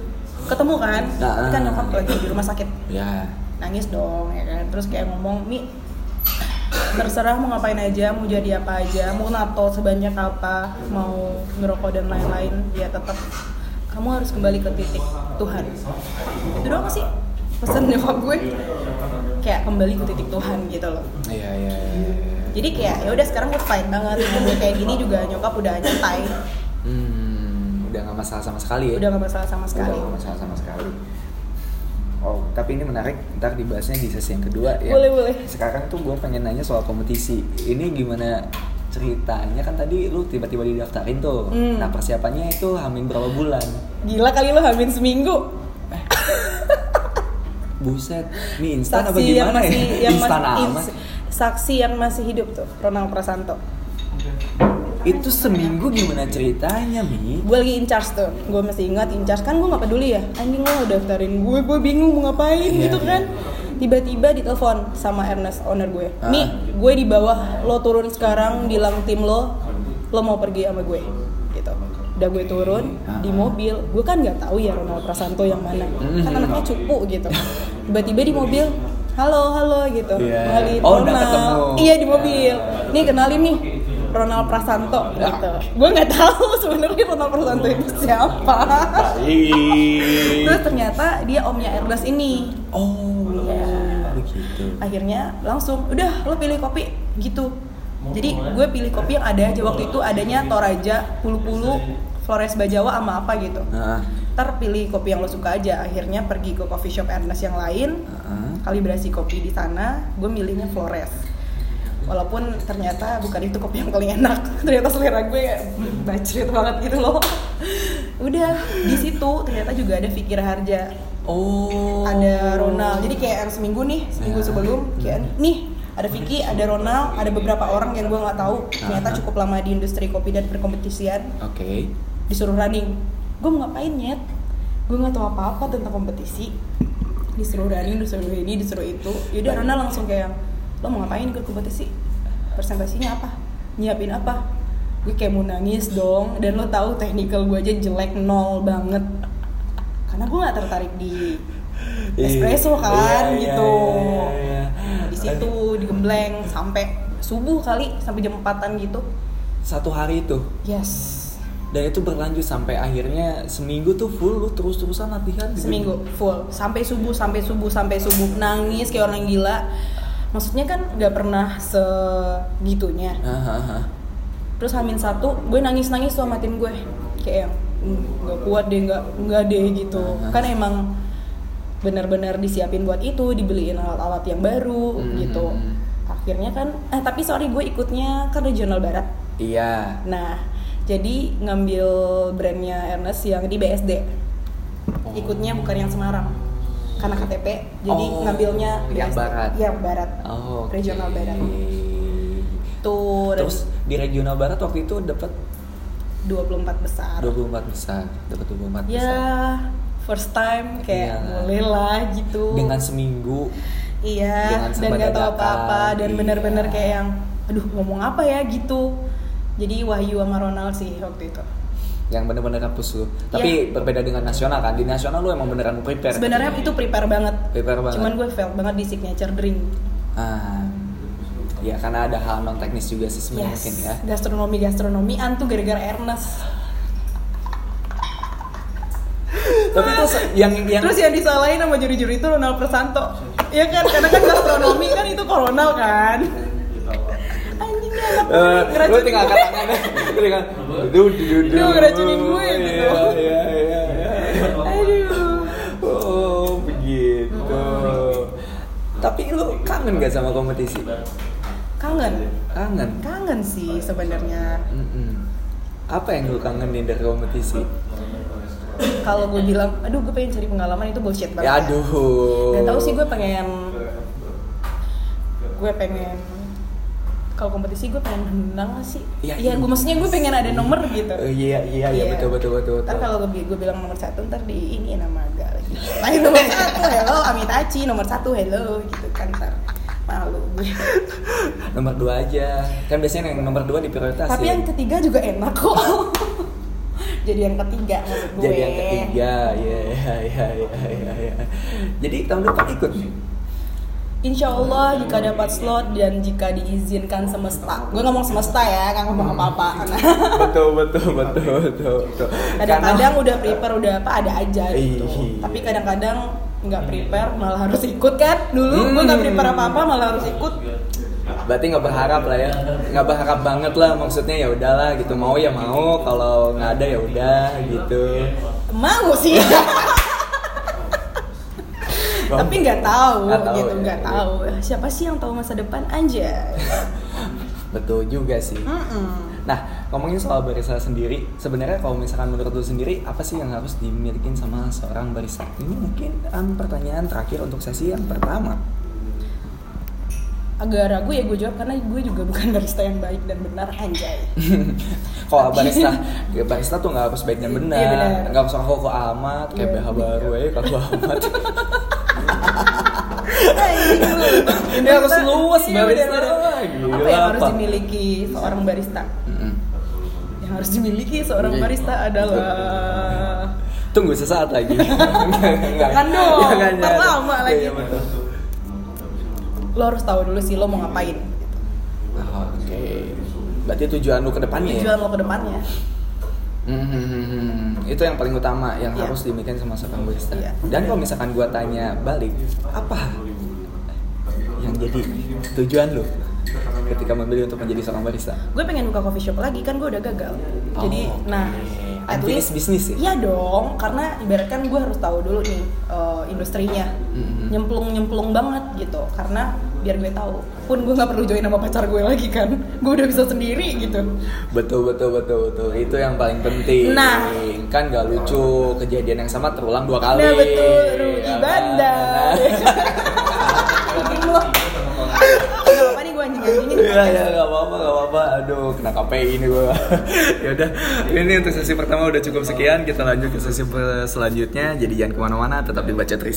S2: ketemu kan
S1: Nah,
S2: Ini kan
S1: ah.
S2: nyokap lagi di rumah sakit
S1: Ya.
S2: nangis dong ya kan terus kayak ngomong mi terserah mau ngapain aja mau jadi apa aja mau nato sebanyak apa mau ngerokok dan lain-lain ya tetap kamu harus kembali ke titik Tuhan itu doang sih pesan nyokap gue kayak kembali ke titik Tuhan gitu loh
S1: Iya, iya, iya. iya.
S2: jadi kayak ya udah sekarang gue fine banget Dengan gue kayak gini juga nyokap udah nyantai
S1: Hmm, udah nggak masalah sama sekali ya.
S2: udah gak masalah sama sekali
S1: Udah nggak masalah sama sekali. Oh, tapi ini menarik. Ntar dibahasnya di sesi yang kedua ya.
S2: Boleh, boleh.
S1: Sekarang tuh gue pengen nanya soal kompetisi. Ini gimana ceritanya? Kan tadi lu tiba-tiba didaftarin tuh.
S2: Hmm.
S1: Nah persiapannya itu hamin berapa bulan?
S2: gila kali lo hamil seminggu
S1: Buset, mie instan apa
S2: saksi yang
S1: gimana *laughs*
S2: masih
S1: ya?
S2: yang
S1: instan
S2: masih
S1: amat.
S2: ins- saksi yang masih hidup tuh Ronald Prasanto
S1: Itu seminggu gimana ceritanya, Mi?
S2: gue lagi in charge tuh gue masih ingat in charge kan gue nggak peduli ya anjing lo udah daftarin gue gue bingung mau ngapain
S1: Iya,
S2: gitu
S1: iya.
S2: kan tiba-tiba ditelepon sama Ernest owner gue
S1: Ah.
S2: mi gue di bawah lo turun sekarang bilang tim lo lo mau pergi sama gue gitu udah gue turun
S1: Ah.
S2: di mobil gue kan nggak tahu ya Ronald Prasanto yang mana kan
S1: Mhm.
S2: anaknya cupu gitu tiba-tiba di mobil halo halo gitu
S1: Iya.
S2: kenalin
S1: Oh, udah
S2: Ronald.
S1: ketemu.
S2: iya di mobil nih kenalin nih Ronald Prasanto gitu gue nggak tahu *laughs* sebenarnya Ronald Prasanto itu siapa terus ternyata dia omnya Ernest ini
S1: Oh,
S2: Iya.
S1: begitu.
S2: akhirnya langsung udah lo pilih kopi gitu jadi gue pilih kopi yang ada aja waktu itu adanya Toraja Pulu Pulu Flores Bajawa sama apa gitu
S1: Nah,
S2: ntar pilih kopi yang lo suka aja akhirnya pergi ke coffee shop Ernest yang lain
S1: ah.
S2: kalibrasi kopi di sana gue milihnya Flores walaupun ternyata bukan itu kopi yang paling enak *laughs* ternyata selera gue kayak bacret banget gitu loh udah di situ ternyata juga ada Fikir Harja
S1: Oh.
S2: ada Ronald jadi kayak yang seminggu nih seminggu
S1: Ya.
S2: sebelum kayak nih ada Vicky ada Ronald ada beberapa orang yang gue nggak tahu ternyata
S1: Aha.
S2: cukup lama di industri kopi dan perkompetisian
S1: Oke.
S2: disuruh running gue mau ngapain nyet gue nggak tahu apa apa tentang kompetisi disuruh running disuruh ini disuruh itu yaudah Rana langsung kayak lo mau ngapain ikut kompetisi presentasinya apa nyiapin apa gue kayak mau nangis dong dan lo tahu technical gue aja jelek nol banget karena gue nggak tertarik di espresso
S1: Iya,
S2: kan
S1: iya,
S2: gitu
S1: iya, iya.
S2: di situ digembleng sampai subuh kali sampai jam 4-an gitu
S1: Satu hari itu.
S2: yes
S1: Dan itu berlanjut sampai akhirnya seminggu tuh full lu terus-terusan latihan gitu.
S2: seminggu full sampai subuh sampai subuh sampai subuh nangis kayak orang gila maksudnya kan nggak pernah segitunya
S1: Ah, ah, ah.
S2: terus hamin satu gue nangis nangis tuh sama tim gue kayak yang "Hmm, nggak kuat deh nggak nggak deh gitu kan emang benar-benar disiapin buat itu dibeliin alat-alat yang baru
S1: Hmm.
S2: gitu akhirnya kan eh tapi sorry gue ikutnya kan regional barat
S1: Iya.
S2: nah jadi ngambil brandnya Ernest yang di BSD ikutnya bukan yang Semarang karena KTP jadi
S1: Oh,
S2: ngambilnya
S1: yang
S2: BSD.
S1: barat.
S2: yang barat
S1: Oh. oke.
S2: regional barat tuh
S1: Terus di regional barat waktu itu dapat
S2: 24 besar
S1: 24 besar, dapat 24 besar.
S2: ya first time
S1: Iya.
S2: kayak boleh lah gitu
S1: Dengan seminggu
S2: iya
S1: dengan
S2: dan
S1: serba
S2: gak tahu
S1: dadakan,
S2: apa-apa dan
S1: iya.
S2: bener-bener kayak yang aduh ngomong apa ya gitu jadi Wahyu sama Ronald sih waktu itu
S1: yang bener-bener kampus lu tapi berbeda dengan nasional kan di nasional lu emang beneran prepare
S2: Iya. Sebenarnya itu prepare banget.
S1: Prepare banget.
S2: Cuman gue fail banget di signature drink.
S1: ah ya karena ada hal non teknis juga sih sebenarnya
S2: Yes.
S1: mungkin ya
S2: Gastronomi gastronomi antu gara-gara Ernest.
S1: tapi itu se- yang yang
S2: Terus yang disalahin sama juri-juri itu Ronald Persanto. Iya kan? Karena kan gastronomi kan itu kolonel kan. Anjing dia
S1: Eh,
S2: anak gue,
S1: lu
S2: ngeracunin
S1: tinggal
S2: gue.
S1: angkat tangannya lu tinggal du du du du
S2: Lu ngeracunin gue gitu.
S1: Iya, iya, iya, iya.
S2: Aduh.
S1: oh begitu tapi lu kangen gak sama kompetisi
S2: Kangen.
S1: kangen
S2: Kangen sih sebenarnya.
S1: Mm-mm. apa yang lu kangenin dari kompetisi
S2: Kalau gue bilang, aduh gue pengen cari pengalaman itu bullshit banget.
S1: ya aduh
S2: Gak tau sih gue pengen Gue pengen kalau kompetisi gue pengen menang sih
S1: Ya,
S2: Iya gue maksudnya gue pengen ada nomor gitu
S1: Eh, iya iya iya betul betul betul betul
S2: Ntar kalau gue, bi- gue bilang nomor satu ntar di ini nama agak lagi Lain nomor satu, hello Amitachi nomor satu, hello gitu kan ntar Malu gue
S1: nomor dua aja kan biasanya yang nomor dua diprioritasin
S2: Tapi yang ketiga juga enak
S1: *laughs*
S2: kok Jadi yang ketiga maksud gue
S1: jadi yang ketiga ya ya ya ya ya jadi tahun depan ikut
S2: Insya Allah jika dapat slot dan jika diizinkan semesta Gue ngomong semesta ya, gak
S1: Hmm.
S2: ngomong
S1: *laughs*
S2: apa-apa
S1: betul betul betul betul, betul.
S2: kadang-kadang udah prepare udah apa ada aja gitu
S1: Iya.
S2: tapi kadang-kadang nggak prepare malah harus ikut kan dulu gue nggak
S1: Hmm.
S2: prepare apa apa malah harus ikut
S1: berarti nggak berharap lah ya nggak berharap banget lah maksudnya ya udahlah gitu mau ya mau kalau nggak ada ya udah gitu
S2: mau sih
S1: *laughs*
S2: tapi nggak tahu
S1: Nggak tahu
S2: gitu
S1: ya.
S2: nggak tahu siapa sih yang tahu masa depan aja
S1: betul juga sih nah ngomongin soal barista sendiri sebenarnya kalau misalkan menurut lu sendiri apa sih yang harus dimiliki sama seorang barista ini mungkin um, pertanyaan terakhir untuk sesi yang pertama
S2: agak ragu ya gue jawab karena gue juga bukan barista yang baik dan benar anjay
S1: kalau
S2: *laughs*
S1: barista ya barista tuh nggak harus baik dan benar
S2: Iya, benar.
S1: nggak usah kok kok amat kayak
S2: Iya.
S1: BH baru ya kalau
S2: *laughs*
S1: amat
S2: ini
S1: Ini harus luwes barista. Gila,
S2: iya, oh, apa yang harus
S1: apa?
S2: dimiliki seorang barista
S1: Mm-mm.
S2: yang harus dimiliki seorang
S1: Iya.
S2: barista adalah
S1: tunggu sesaat lagi *laughs* Nggak,
S2: *laughs* Jangan dong,
S1: jangan,
S2: ntar
S1: jangan.
S2: lama lagi.
S1: Iya, betul.
S2: lo harus tahu dulu sih lo mau ngapain
S1: Oh, oke berarti tujuan lu ke depannya ya?
S2: tujuan lo ke depannya
S1: Mhm. itu yang paling utama yang
S2: Iya.
S1: harus dimiliki sama seorang barista
S2: Iya.
S1: dan kalau misalkan gua tanya balik apa yang jadi tujuan lu ketika memilih untuk menjadi seorang barista
S2: gue pengen buka coffee shop lagi kan gue udah gagal
S1: Oh,
S2: jadi
S1: oke.
S2: nah at
S1: Unfinished
S2: least
S1: business ya?
S2: iya dong karena ibaratkan gue harus tahu dulu nih eh, industrinya
S1: Mhm.
S2: nyemplung nyemplung banget gitu karena biar gue tahu pun gue nggak perlu join sama pacar gue lagi kan gue udah bisa sendiri gitu
S1: Betul betul betul betul itu yang paling penting.
S2: Nah.
S1: kan gak lucu kejadian yang sama terulang dua kali. Nah.
S2: nah betul rugi
S1: Ya kan?
S2: bandar
S1: *laughs*
S2: *laughs* Anjing lo. Nggak apa-apa nih gue anjing-anjingin
S1: Iya ya nggak apa-apa nggak apa-apa. Aduh kena KPI ini gua. *laughs* ya udah ini untuk sesi pertama udah cukup sekian kita lanjut ke sesi per- selanjutnya. Jadi jangan kemana-mana tetap dibaca Trista.